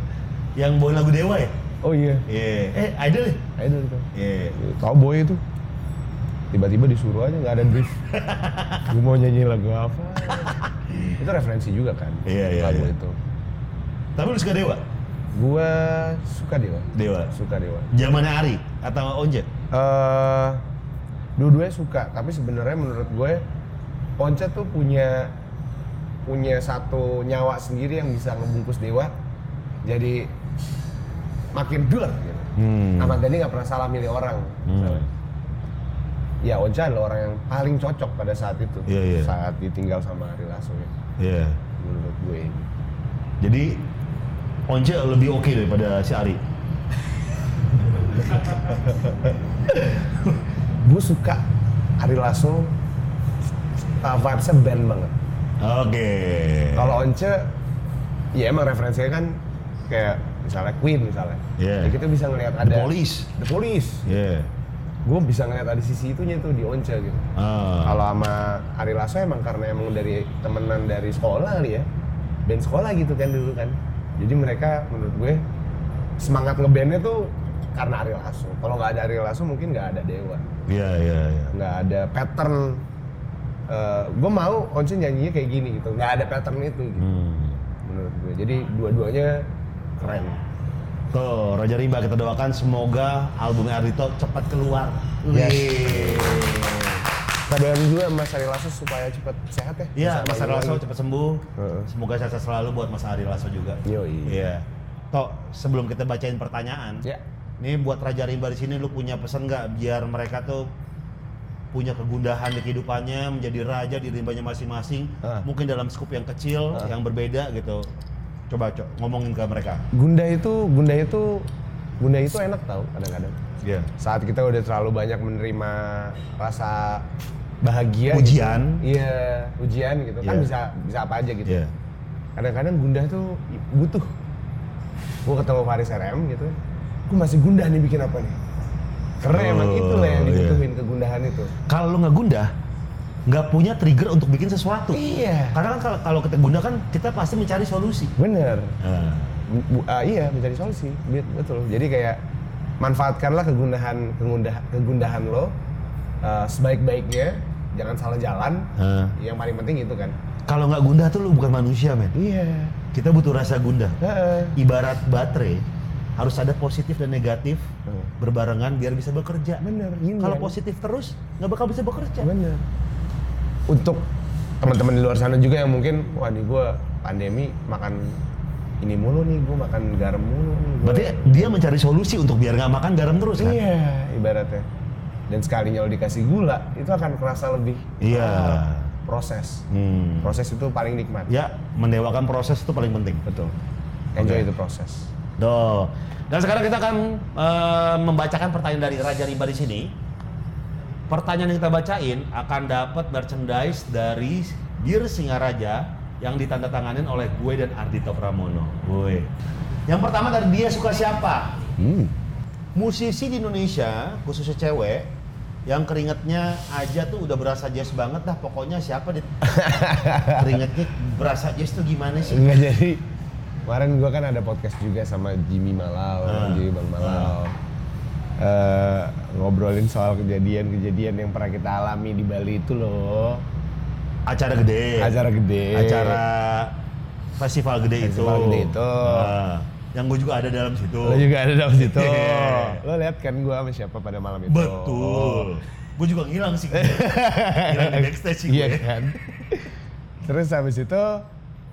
A: yang bawain lagu Dewa ya?
B: Oh iya.
A: Iya. Eh, Idol ya?
B: Ayo dulu tuh.
A: Iya.
B: Tau boy itu. Tiba-tiba disuruh aja nggak ada
A: [LAUGHS]
B: brief. gue mau nyanyi lagu apa? itu referensi juga kan.
A: Iya, iya,
B: Lagu
A: iya.
B: itu.
A: Tapi lu suka Dewa?
B: Gue suka dewa.
A: Dewa.
B: Suka dewa.
A: Zamannya Ari atau Onje?
B: eh dua-duanya suka tapi sebenarnya menurut gue Once tuh punya punya satu nyawa sendiri yang bisa ngebungkus dewa jadi makin duler gitu.
A: Hmm.
B: Ahmad Dhani nggak pernah salah milih orang misalnya. ya Once adalah orang yang paling cocok pada saat itu
A: Iya, iya.
B: saat ditinggal sama Ari Lasso ya,
A: Iya.
B: menurut gue
A: Jadi Once lebih oke daripada si Ari.
B: gue suka Ari Lasso uh, vibes-nya band banget
A: Oke. Iya.
B: Kalau Once, ya emang referensinya kan kayak misalnya Queen misalnya.
A: Iya.
B: Ya kita bisa ngelihat
A: The
B: ada
A: Police.
B: The Police.
A: Iya.
B: Gue bisa ngelihat ada sisi itunya tuh di Once gitu.
A: Ah.
B: Kalau sama Ari Lasso emang karena emang dari temenan dari sekolah kali ya. Band sekolah gitu kan dulu kan. Jadi mereka menurut gue semangat ngebandnya tuh karena Ari Lasso. Kalau nggak ada Ari Lasso mungkin nggak ada Dewa
A: Iya, iya, iya.
B: nggak ada pattern gue mau Once nyanyinya kayak gini gitu nggak ada pattern itu gitu
A: Hmm.
B: menurut gue jadi dua-duanya keren
A: Tuh, Raja Rimba kita doakan semoga albumnya Ardhito cepat keluar.
B: Yes.
A: Wih.
B: kabarin juga Mas Ari Lasso supaya cepat sehat ya
A: Iya,
B: Bisa
A: Mas
B: main
A: Ari Lasso
B: lagi.
A: cepat sembuh.
B: Heeh.
A: Semoga sehat selalu buat Mas Ari Lasso juga.
B: Yoi.
A: Iya. Tok, sebelum kita bacain pertanyaan,
B: ya
A: Ini buat Raja Rimba di sini lu punya pesan nggak biar mereka tuh punya kegundahan di kehidupannya menjadi raja di rimbanya masing-masing
B: Ah.
A: mungkin dalam skup yang kecil yang berbeda gitu coba co- ngomongin ke mereka
B: Gunda itu Gunda itu Gunda itu enak tau kadang-kadang
A: Iya.
B: saat kita udah terlalu banyak menerima rasa bahagia gitu.
A: ujian
B: iya ujian gitu kan
A: Iya.
B: bisa bisa apa aja gitu
A: Iya.
B: kadang-kadang gundah tuh butuh gue ketemu Faris RM gitu gue masih gundah nih bikin apa nih
A: Oh,
B: karena emang itulah yang
A: iya.
B: dibutuhin kegundahan itu
A: kalau lu nggak gundah nggak punya trigger untuk bikin sesuatu
B: iya
A: karena kan kalau- kalau kita gundah kan kita pasti mencari solusi
B: bener Bu- bu- ah, iya mencari solusi Bet- betul jadi kayak manfaatkanlah kegundahan kegundah- kegundahan lo eh, sebaik-baiknya jangan salah jalan
A: Eh.
B: yang paling penting itu kan
A: kalau nggak gundah tuh lu bukan manusia men
B: iya
A: kita butuh rasa gundah
B: Heeh.
A: ibarat baterai harus ada positif dan negatif
B: Hmm.
A: berbarengan biar bisa bekerja.
B: Bener, yin
A: Kalau
B: yang.
A: positif terus nggak bakal bisa bekerja.
B: Bener. Untuk teman-teman di luar sana juga yang mungkin, wah ini gue pandemi makan ini mulu nih, gue makan garam mulu nih. gua."
A: Berarti dia mencari solusi untuk biar nggak makan garam terus kan?
B: iya ibaratnya. Dan sekalinya lo dikasih gula, itu akan kerasa lebih.
A: Iya.
B: Proses.
A: Hmm.
B: Proses itu paling nikmat.
A: Ya mendewakan proses itu paling penting.
B: Betul. Enjoy
A: Oke.
B: the process.
A: Doh. Dan sekarang kita akan eh, membacakan pertanyaan dari Raja Rimba di sini. Pertanyaan yang kita bacain akan dapat merchandise dari Bir Singaraja yang ditandatanganin oleh gue dan Ardhito Pramono. Gue. Yang pertama dari dia suka siapa? Musisi di Indonesia, khususnya cewek, yang keringetnya aja tuh udah berasa jazz banget dah. Pokoknya siapa di keringetnya berasa jazz tuh gimana sih?
B: Enggak jadi. Kemarin gue kan ada podcast juga sama Jimmy Malau,
A: Ah.
B: Jimmy Bang Malau. Eh, ngobrolin soal kejadian-kejadian yang pernah kita alami di Bali itu loh.
A: Acara gede.
B: Acara gede.
A: Iya. acara festival gede
B: Festival
A: itu.
B: gede itu. Oh,
A: Ah, yang gue juga ada dalam situ.
B: Lo juga ada dalam situ.
A: [LAUGHS] Iya.
B: Lo lihat kan gue sama siapa pada malam itu.
A: Betul. Gue juga ngilang sih. ngilang di backstage sih
B: Iya
A: gue. ya.
B: kan. Terus habis itu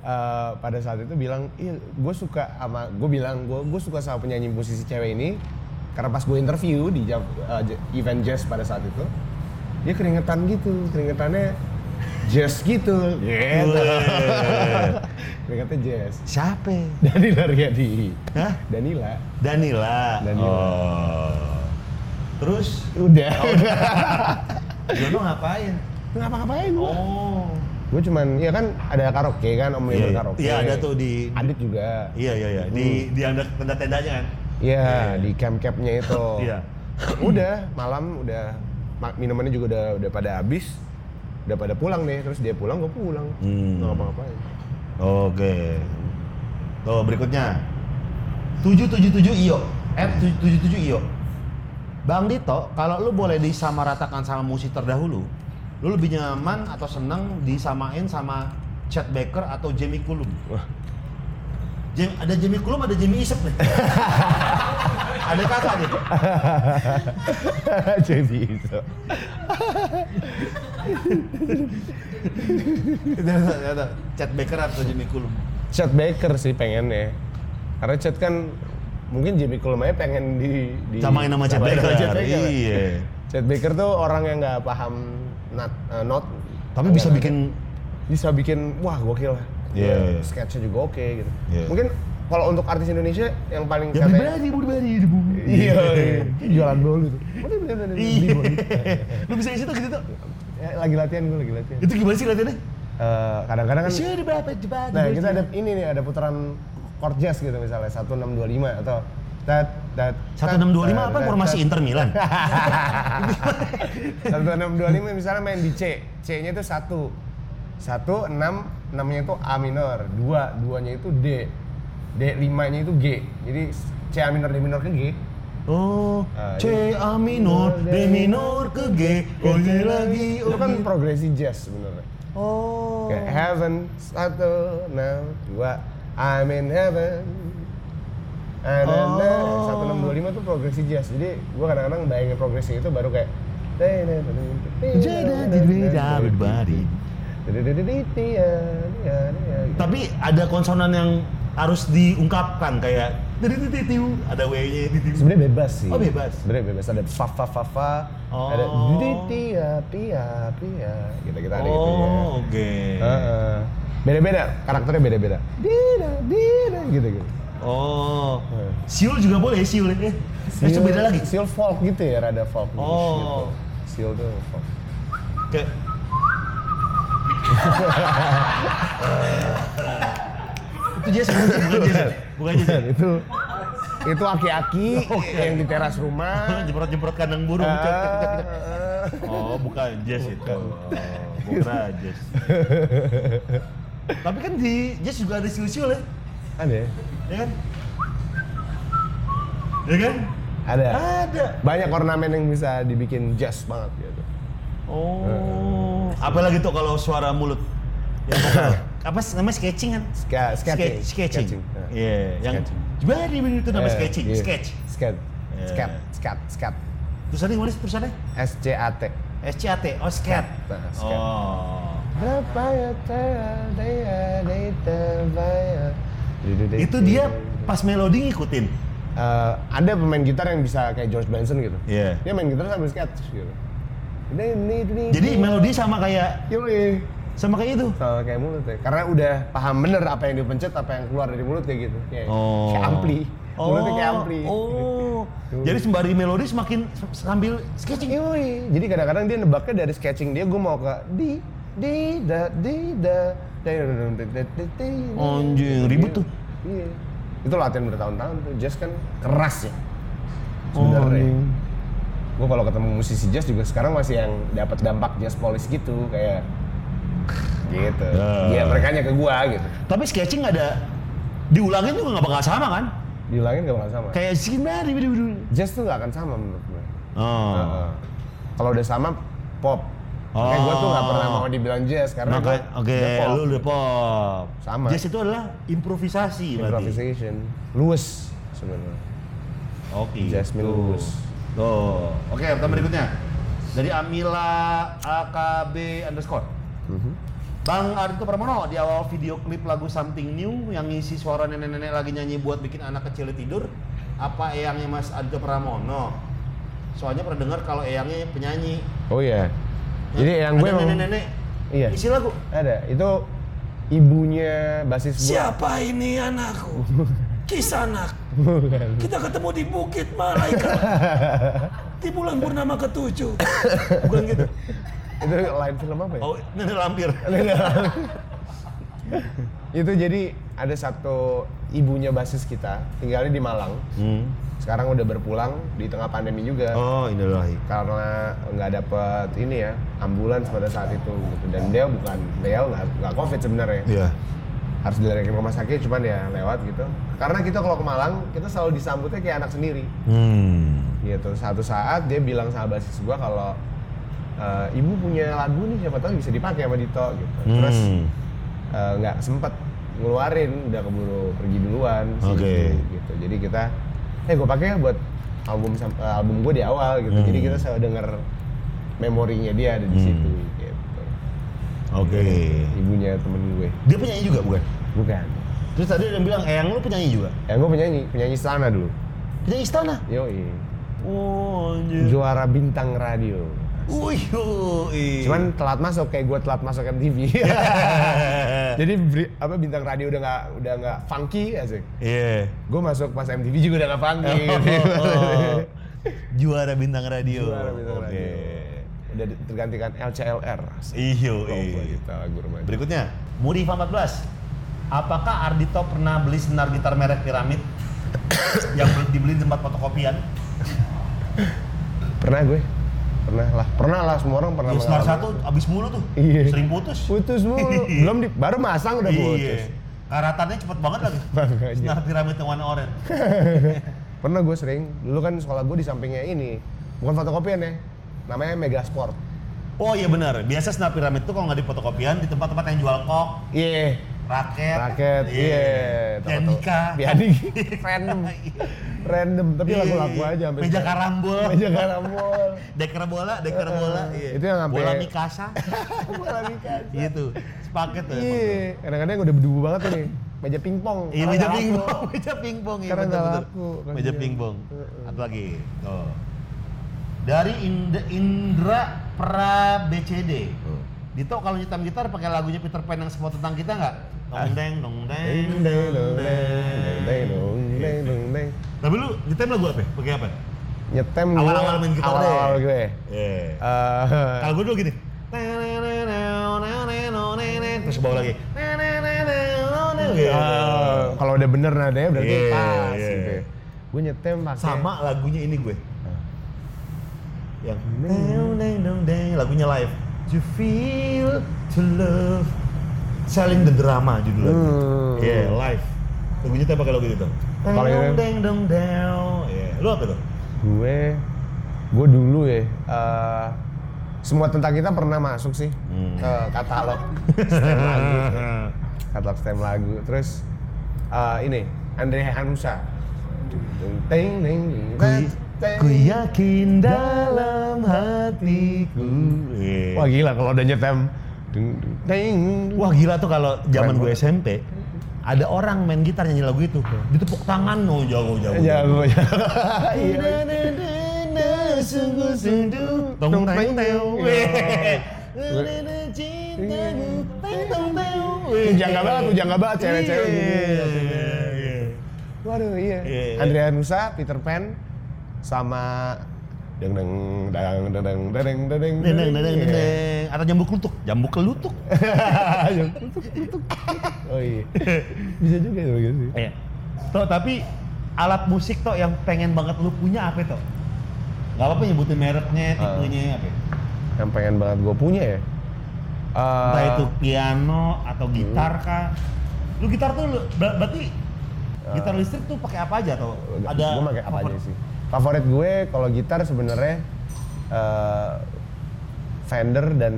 B: eh, pada saat itu bilang, iya gue suka sama gue bilang gue gue suka sama penyanyi musisi cewek ini karena pas gue interview di jam- eh, j- event jazz pada saat itu dia keringetan gitu, keringetannya jazz gitu, gitu. keringetannya jazz.
A: Siapa?
B: Danila Riyadi.
A: Hah?
B: Danila.
A: Danila.
B: Danila.
A: Oh. Terus
B: Udah.
A: Oh.
B: [LAUGHS]
A: Jono ngapain?
B: Ngapa-ngapain? gua.
A: Oh.
B: Gue cuman, ya kan ada karaoke kan, Om Liman
A: Iya, iya.
B: karaoke.
A: Iya, ada tuh di-
B: Adit juga.
A: Iya iya iya di di
B: Hmm.
A: anda tenda tendanya kan.
B: Iya, di camp campnya itu.
A: [LAUGHS] Iya.
B: Udah malam udah ma- minumannya juga udah udah pada habis, udah pada pulang nih. Terus dia pulang, gue pulang.
A: Hmm.
B: Nggak ngapa-ngapain. [LAUGHS]
A: Oke. Tuh berikutnya. 777 IO. App 777 IO. Bang Dito, kalau lu boleh disamaratakan sama musik terdahulu, lu lebih nyaman atau seneng disamain sama Chad Baker atau Jamie Cullum? Jam, ada Jamie Cullum, ada Jamie Isep [LAUGHS] nih. ada kakak nih.
B: Jadi itu.
A: Chad Baker atau Jamie Cullum?
B: Chad Baker sih pengennya. Karena Chad kan mungkin Jimmy Cullum aja pengen di, di
A: Samain nama Chad
B: samain
A: Baker.
B: sama Chet Baker.
A: Iya.
B: Chad Baker tuh orang yang nggak paham not, eh, not
A: Tapi bisa
B: nggak-
A: bikin
B: bisa bikin wah gokil lah.
A: Iya, iya.
B: Sketchnya juga oke gitu.
A: Iya.
B: Mungkin kalau untuk artis Indonesia yang paling
A: Ya beli berani, beli berani, di bumi.
B: Iya, iya. jualan dulu tuh. Mana beli beli beli,
A: Iya.
B: beli.
A: Lu bisa isi tuh gitu tuh.
B: Ya, Lagi latihan gue lagi latihan.
A: Itu gimana sih latihannya?
B: Eh, kadang-kadang kan
A: Sudah berapa cepat?
B: nah kita ada ini nih ada putaran chord jazz gitu misalnya 1625 atau tat tat tat,
A: 1625 apa
B: tat,
A: formasi
B: tat.
A: Inter
B: [LAUGHS]
A: Milan?
B: 1625 misalnya main di C. C-nya itu 1. 1 6 6-nya itu A minor, 2 2-nya itu D. D 5-nya itu G. Jadi C A minor D minor ke G.
A: Oh,
B: Ah,
A: C
B: Iya.
A: A minor, D minor ke G, oh iya lagi,
B: Itu
A: oh
B: kan
A: iya.
B: progresi jazz sebenarnya.
A: Oh.
B: Kayak heaven 1 6 2 I'm in heaven. Ah, nah, nah.
A: Oh.
B: 1625 itu progresi jazz. Jadi gua kadang-kadang bayangin progresi itu baru kayak
A: Jadi beda everybody. Tapi ada konsonan yang harus diungkapkan kayak titiu ada W-nya titiu.
B: Sebenarnya bebas sih.
A: Oh, bebas.
B: Sebenarnya bebas ada fa fa fa fa,
A: Oh.
B: ada di ya, tia pia pia, gitu kita ada gitu ya.
A: Oh, oke.
B: Heeh. Beda-beda, karakternya beda-beda. Dina, dina gitu gitu.
A: Oh. Siul juga boleh siul ya. Eh, itu beda lagi.
B: Seal folk gitu ya, rada folk gitu.
A: Oh.
B: Seal tuh folk.
A: Kayak [LAUGHS] itu Jason, bukan Jason. Bukan ya? Oh, Jason.
B: [LAUGHS] itu itu
A: [LAUGHS]
B: aki-aki
A: iya.
B: yang di teras rumah.
A: Jemprot-jemprot kandang burung. cek, cek, cek, cek.
B: Eh,
A: Oh, Ah. bukan Jazz itu. Oh, bukan Jazz. Tapi kan di Jazz juga ada siul-siul ya.
B: Ada ya?
A: Ya kan? Ya kan?
B: Ada.
A: Ada.
B: Banyak ornamen yang bisa dibikin jazz banget gitu.
A: Oh. Apalagi tuh kalau suara mulut. Yang vokal. Apa s- namanya sketching kan?
B: Ska, sketching.
A: Sketch- sketching.
B: Nah.
A: Iya, yang
B: Sketching.
A: Bari bener itu nama
B: Eh,
A: sketching,
B: iya.
A: sketch.
B: Sketch.
A: Eh.
B: Scat, scat, scat.
A: Tulisannya gimana sih tulisannya?
B: S C A T.
A: SCAT, oh scat.
B: Nah, scat.
A: Oh.
B: Berapa ya tera- daya- daya- daya.
A: Itu dia pas melodi ngikutin.
B: Eh, ada pemain gitar yang bisa kayak George Benson gitu.
A: Iya.
B: Dia main gitar sambil sketch gitu.
A: Jadi melodi sama kayak
B: Yoi.
A: sama kayak itu.
B: Sama kayak mulut ya. Karena udah paham bener apa yang dipencet, apa yang keluar dari mulut kayak gitu. Kayak,
A: Oh.
B: kayak ampli.
A: Oh.
B: Mulutnya kayak ampli.
A: Oh. Jadi sembari melodi semakin s- sambil sketching.
B: Yoi. Jadi kadang-kadang dia nebaknya dari sketching dia, gue mau ke di di da di da da, da, da, da, da, da, da.
A: Anjing, ribet Oh, tuh.
B: Iya. Itu latihan bertahun-tahun tuh. Jazz kan keras ya.
A: Oh.
B: Sebenarnya. gue kalau ketemu musisi jazz juga sekarang masih yang dapat dampak jazz polis gitu kayak gitu.
A: Ya.
B: Iya, mereka ke gua gitu.
A: Tapi sketching ada diulangin juga nggak bakal sama kan?
B: Bilangin gak bakal sama.
A: Kayak sembari.
B: Jazz tuh gak akan sama menurut gue.
A: Oh.
B: Heeh. Kalau udah sama pop. Kayak gue tuh gak pernah mau dibilang jazz karena
A: Oh. Maka,
B: gue
A: oke, lu udah pop.
B: Sama.
A: Jazz itu adalah improvisasi, berarti.
B: improvisation, luwes sebenarnya.
A: Oke.
B: Jasmine
A: tuh.
B: Lubus.
A: Tuh. Oke, pertanyaan berikutnya. dari Amila AKB underscore.
B: Mhm.
A: Bang Arito Pramono di awal video klip lagu Something New yang ngisi suara nenek-nenek lagi nyanyi buat bikin anak kecil tidur apa eyangnya Mas Arito Pramono? Soalnya pernah dengar kalau eyangnya penyanyi.
B: Oh iya. Jadi yang
A: Ada
B: gue emang
A: nenek-nenek
B: Iya.
A: isi
B: [LAUGHS]
A: lagu.
B: ada. Itu ibunya basis gue.
C: Siapa ini anakku? Kisanak. Kita ketemu di Bukit
A: [LAUGHS]
C: Malaikat. Di bulan purnama ketujuh.
A: Bukan gitu.
B: Itu lain film apa ya?
A: Oh, nenek lampir.
B: Itu jadi ada satu ibunya basis kita tinggalnya di Malang.
A: Hmm.
B: Sekarang udah berpulang di tengah pandemi juga.
A: Oh, inilah.
B: karena nggak dapet ini ya ambulans pada saat itu gitu. dan dia bukan beliau nggak nggak covid sebenarnya
A: Iya.
B: harus dilarikan ke rumah sakit cuman ya lewat gitu karena kita kalau ke Malang kita selalu disambutnya kayak anak sendiri
A: Hmm.
B: gitu satu saat dia bilang sama basis gua kalau e, ibu punya lagu nih siapa tahu bisa dipakai sama Dito gitu terus
A: Hmm.
B: e, nggak sempet ngeluarin udah keburu pergi duluan si
A: Oke.
B: ibu, gitu jadi kita eh gue pakai buat album sam- eh, album gue di awal gitu
A: Hmm.
B: jadi kita selalu denger memorinya dia ada di
A: Hmm.
B: situ gitu
A: Oke.
B: ibunya temen gue
A: Dia penyanyi juga bukan?
B: bukan
A: Terus tadi ada yang bilang eyang lu penyanyi juga.
B: yang gue penyanyi penyanyi istana dulu
A: Penyanyi istana.
B: yoi
A: Oh, anjir.
B: juara bintang radio
A: Wih, yoi.
B: cuman telat masuk kayak gue telat masuk
A: [LAUGHS]
B: MTV jadi beri- apa bintang radio udah nggak udah nggak funky asik
A: Iya.
B: gue masuk pas MTV juga udah nggak funky gitu.
A: Oh. Juara bintang radio.
B: Juara bintang
A: Oke.
B: radio. udah di- tergantikan LCLR
A: Ih, yoi.
B: Komplek kita lagu remaja
A: Berikutnya, Muri 14. Apakah Ardito pernah beli senar gitar merek piramid [COUGHS] yang dibeli di tempat fotokopian?
B: pernah gue pernah lah pernah lah semua orang pernah
A: Ya, senar
B: mengalami.
A: satu abis mulu tuh,
B: Iya.
A: sering putus.
B: putus mulu
A: [LAUGHS]
B: belum di, baru masang udah putus iya.
A: Iya. Karatannya cepet banget lagi.
B: Makanya.
A: Senar piramid yang warna oranye.
B: pernah gue sering dulu kan sekolah gue di sampingnya ini bukan fotokopian ya namanya Mega Sport
A: Oh iya benar. Biasa senar piramid itu kalau nggak di fotokopian di tempat-tempat yang jual kok,
B: iya
A: raket,
B: raket iya Tahu-tahu.
A: pianika,
B: pianika
A: [LAUGHS]
B: random random tapi
A: Iya,
B: laku-laku
A: iya.
B: aja sampai
A: meja
B: sekarang.
A: karambol,
B: meja karambol
A: deker bola, deker
B: Eh,
A: bola, iya.
B: itu yang sampai-
A: bola
B: [LAUGHS]
A: mikasa,
B: Bola Mikasa.
A: gitu, sepaket tuh. emang tuh.
B: Iya, kadang-kadang udah berdebu banget tuh nih. Meja pingpong.
A: Iya meja pingpong, [LAUGHS] meja pingpong iya
B: Karena nggak
A: betul-betul.
B: laku, kan
A: Meja
B: dia.
A: pingpong.
B: Heeh.
A: Apa lagi? Tuh. Dari Ind- Indra Pra BCD. Dito kalau nyetam gitar pakai lagunya Peter Pan yang semua tentang kita nggak? Dong deng dong Ah. deng dong deng. Tapi lu nyetem lagu apa? ya? Pakai apa?
B: Nyetem gua
A: Awal-awal main gitar deh.
B: awal-awal gue.
A: Eh.
B: Eh,
A: Kalau gue dulu gini. Terus ke bawah lagi.
B: eh,
A: Ah.
B: kalau udah bener nadanya berarti
A: Iya,
B: pas
A: iya.
B: gitu. Gue nyetem pakai
A: sama lagunya ini gue
B: Nah.
A: yang dang, dang, dang, dang, lagunya live to feel to love selling the drama judul lagu
B: Hmm.
A: ya live lagunya tuh pakai lagu itu
B: Kalau ini-
A: dang dang dang dang ya lu apa tuh
B: gue gue dulu ya eh, semua tentang kita pernah masuk sih
A: Hmm.
B: ke katalog stem lagu katalog stem lagu terus eh, ini Andre Hanusa ting ting ting
A: ku yakin dalam hatiku Iya.
B: wah gila kalau udah nyetem ting ting
A: Wah gila tuh kalau zaman
B: Keren
A: gue
B: banget.
A: SMP ada orang main gitar nyanyi lagu itu, ditepuk tangan no jago jago.
B: jago ya
A: Sungguh sendu tong teng teng Cintamu teng teng teng
B: Jangga banget tuh, jangga banget cewek-cewek gini. Waduh iya.
A: Iya, iya.
B: Andrea Nusa, Peter Pan sama deng deng deng deng deng deng deng deng
A: Neneng neneng neneng Atau jambu kelutuk Jambu kelutuk
B: Yang tutup, tutup, tutup. Oh iya.
A: [LAUGHS]
B: Bisa juga ya begitu.
A: Iya Tuh tapi Alat musik toh yang pengen banget lu punya apa toh? Gak apa-apa nyebutin mereknya, tipenya apa ya?
B: Yang pengen banget gue punya ya. Eh,
A: Entah Nah, itu piano atau gitar
B: Hmm.
A: kah? Lu gitar tuh lu- ber- berarti gitar listrik tuh pakai apa aja atau ada
B: gue Ya. pakai apa aja
A: favorit?
B: sih? Favorit gue kalau gitar sebenarnya eh, Fender dan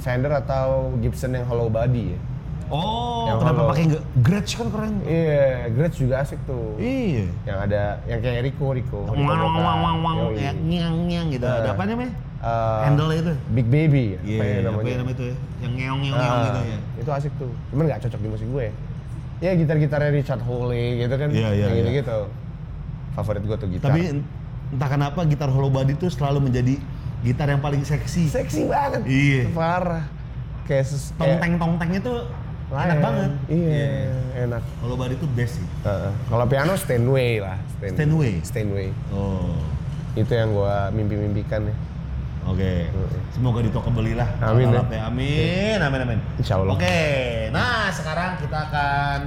B: Fender atau Gibson yang hollow body ya.
A: Oh,
B: Yang
A: kenapa
B: kalau-
A: pakai nggak- Gretsch kan keren.
B: Iya, Gretsch juga asik tuh.
A: Iya.
B: yang ada yang kayak Rico Rico.
A: Wang
B: Rico
A: wang
B: Boca.
A: wang wang wang
B: Yoi.
A: kayak ngiang ngiang gitu. Ada
B: Nah.
A: apa namanya?
B: eh,
A: Handle itu.
B: Big Baby ya, apa ya
A: Iya, apa
B: namanya.
A: ya namanya itu ya? Yang ngeong-ngeong gitu ya.
B: Ah, Itu asik tuh. Cuman nggak cocok di musik gue. Ya gitar-gitarnya Richard Hawley gitu kan.
A: Iya, iya,
B: yang
A: iya.
B: gitu-gitu. Favorit gue tuh gitar.
A: Tapi en- entah kenapa gitar hollow body itu selalu menjadi gitar yang paling seksi.
B: seksi banget.
A: Iya.
B: Parah. Kayak ses- kayak
A: Tongteng-tongtengnya tuh enak
B: lain.
A: banget.
B: Iya, enak.
A: Hollow body itu best sih.
B: Heeh. Kalau piano Steinway lah.
A: Steinway?
B: Steinway.
A: Oh.
B: Itu yang gue mimpi-mimpikan ya.
A: Oke. Semoga di toko belilah.
B: Amin, ya.
A: alatnya. Amin. Amin amin.
B: Insya Allah.
A: Oke. Nah, sekarang kita akan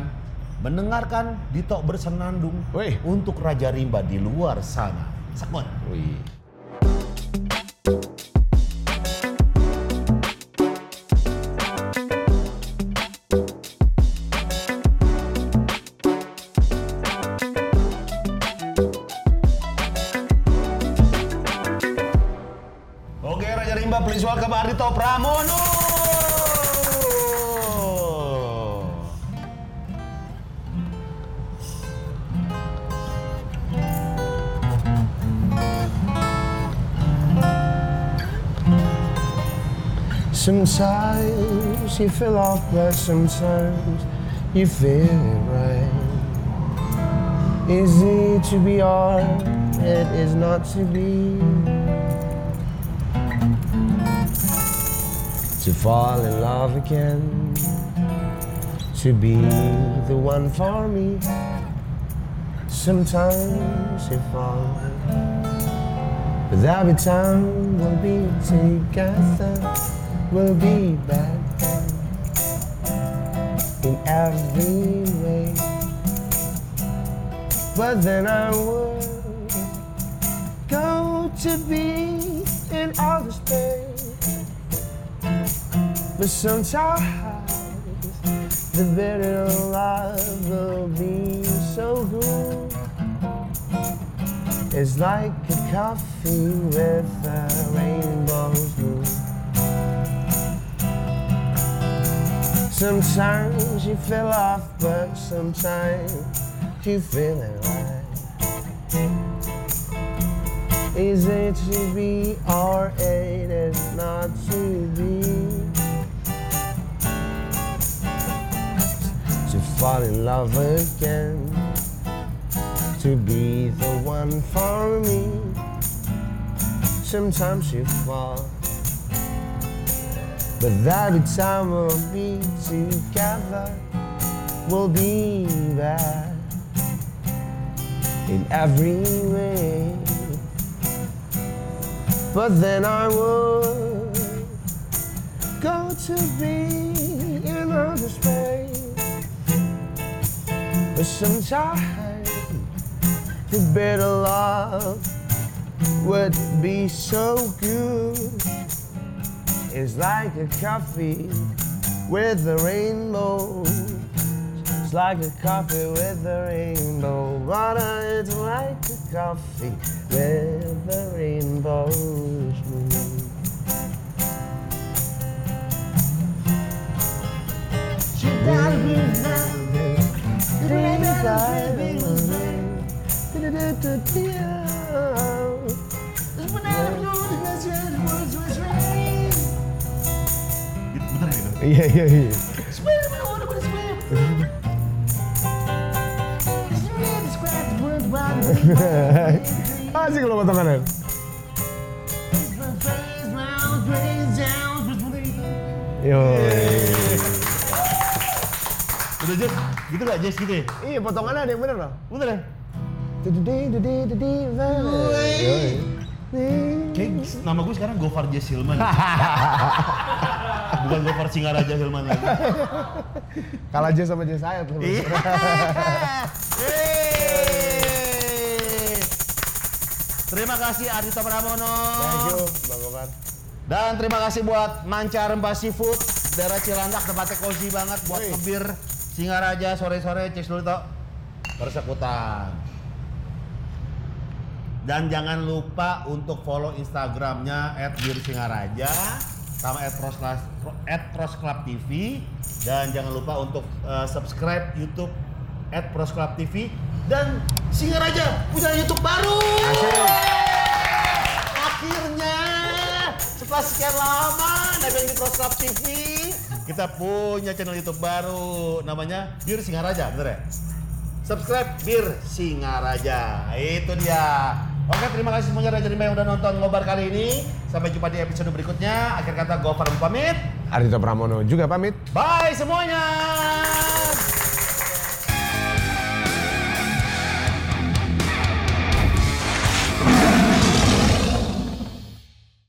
A: mendengarkan Dito bersenandung
B: Wih.
A: untuk Raja Rimba di luar sana. Sekon.
B: Wih.
A: Oke, Raja Rimba please welcome Ardito Pramono.
B: Sometimes you feel off, but sometimes you feel it right. Easy to be hard, it is not to be. To fall in love again, to be the one for me. Sometimes you fall. But every time we'll be together, we'll be back in every way. But then I would go to be in outer space. But sometimes the bitter love will be so good. It's like a coffee with a rainbow's blue. Sometimes you feel off, but sometimes you feel it right. Is it to be or it is not to be? To fall in love again to be the one for me. Sometimes you fall, but every time we'll be together, we'll be back in every way. But then I would go to be in outer space. But sometimes the better love would be so good. It's like a coffee with a rainbow. It's like a coffee with a rainbow. Water it's like a coffee with a rainbow.
A: Gitu, Bener ya gitu?
B: Iya iya iya. Asik lo potongannya. Yo.
A: Udah Jess, gitu gak Jess gitu ya?
B: Iya potongannya ada yang bener loh.
A: Bener ya?
B: Dududi, dududi, dududi,
A: Woi.
B: Yo.
A: Kayak nama gue sekarang Gofar Jess Hilman.
B: [LAUGHS]
A: Bukan Gofar Singaraja Hilman lagi.
B: Kalah aja sama Jess Hayat lo.
A: Iya.
B: Iya.
A: Yeay. Terima kasih Adita Pramono.
B: Thank you, Bang Gopar.
A: Dan terima kasih buat Mancar Mbak Seafood, daerah Cilandak tempatnya cozy banget buat
B: Wih.
A: ngebir Singaraja sore-sore cek dulu tok. Persekutan. Dan jangan lupa untuk follow Instagramnya @birsingaraja sama @roslas- @rosclubtv dan jangan lupa untuk eh, subscribe YouTube @prosclubtv dan Singaraja punya YouTube baru. Akhirnya Setelah sekian lama nebeng di Prosklab TV, kita punya channel YouTube baru namanya Bir Singaraja, bener ya? Subscribe Bir Singaraja. Itu dia. Oke, terima kasih semuanya Raja Rimba yang udah nonton ngobar kali ini. Sampai jumpa di episode berikutnya. Akhir kata, Gofar pamit.
B: Ardhito Pramono juga pamit.
A: Bye semuanya.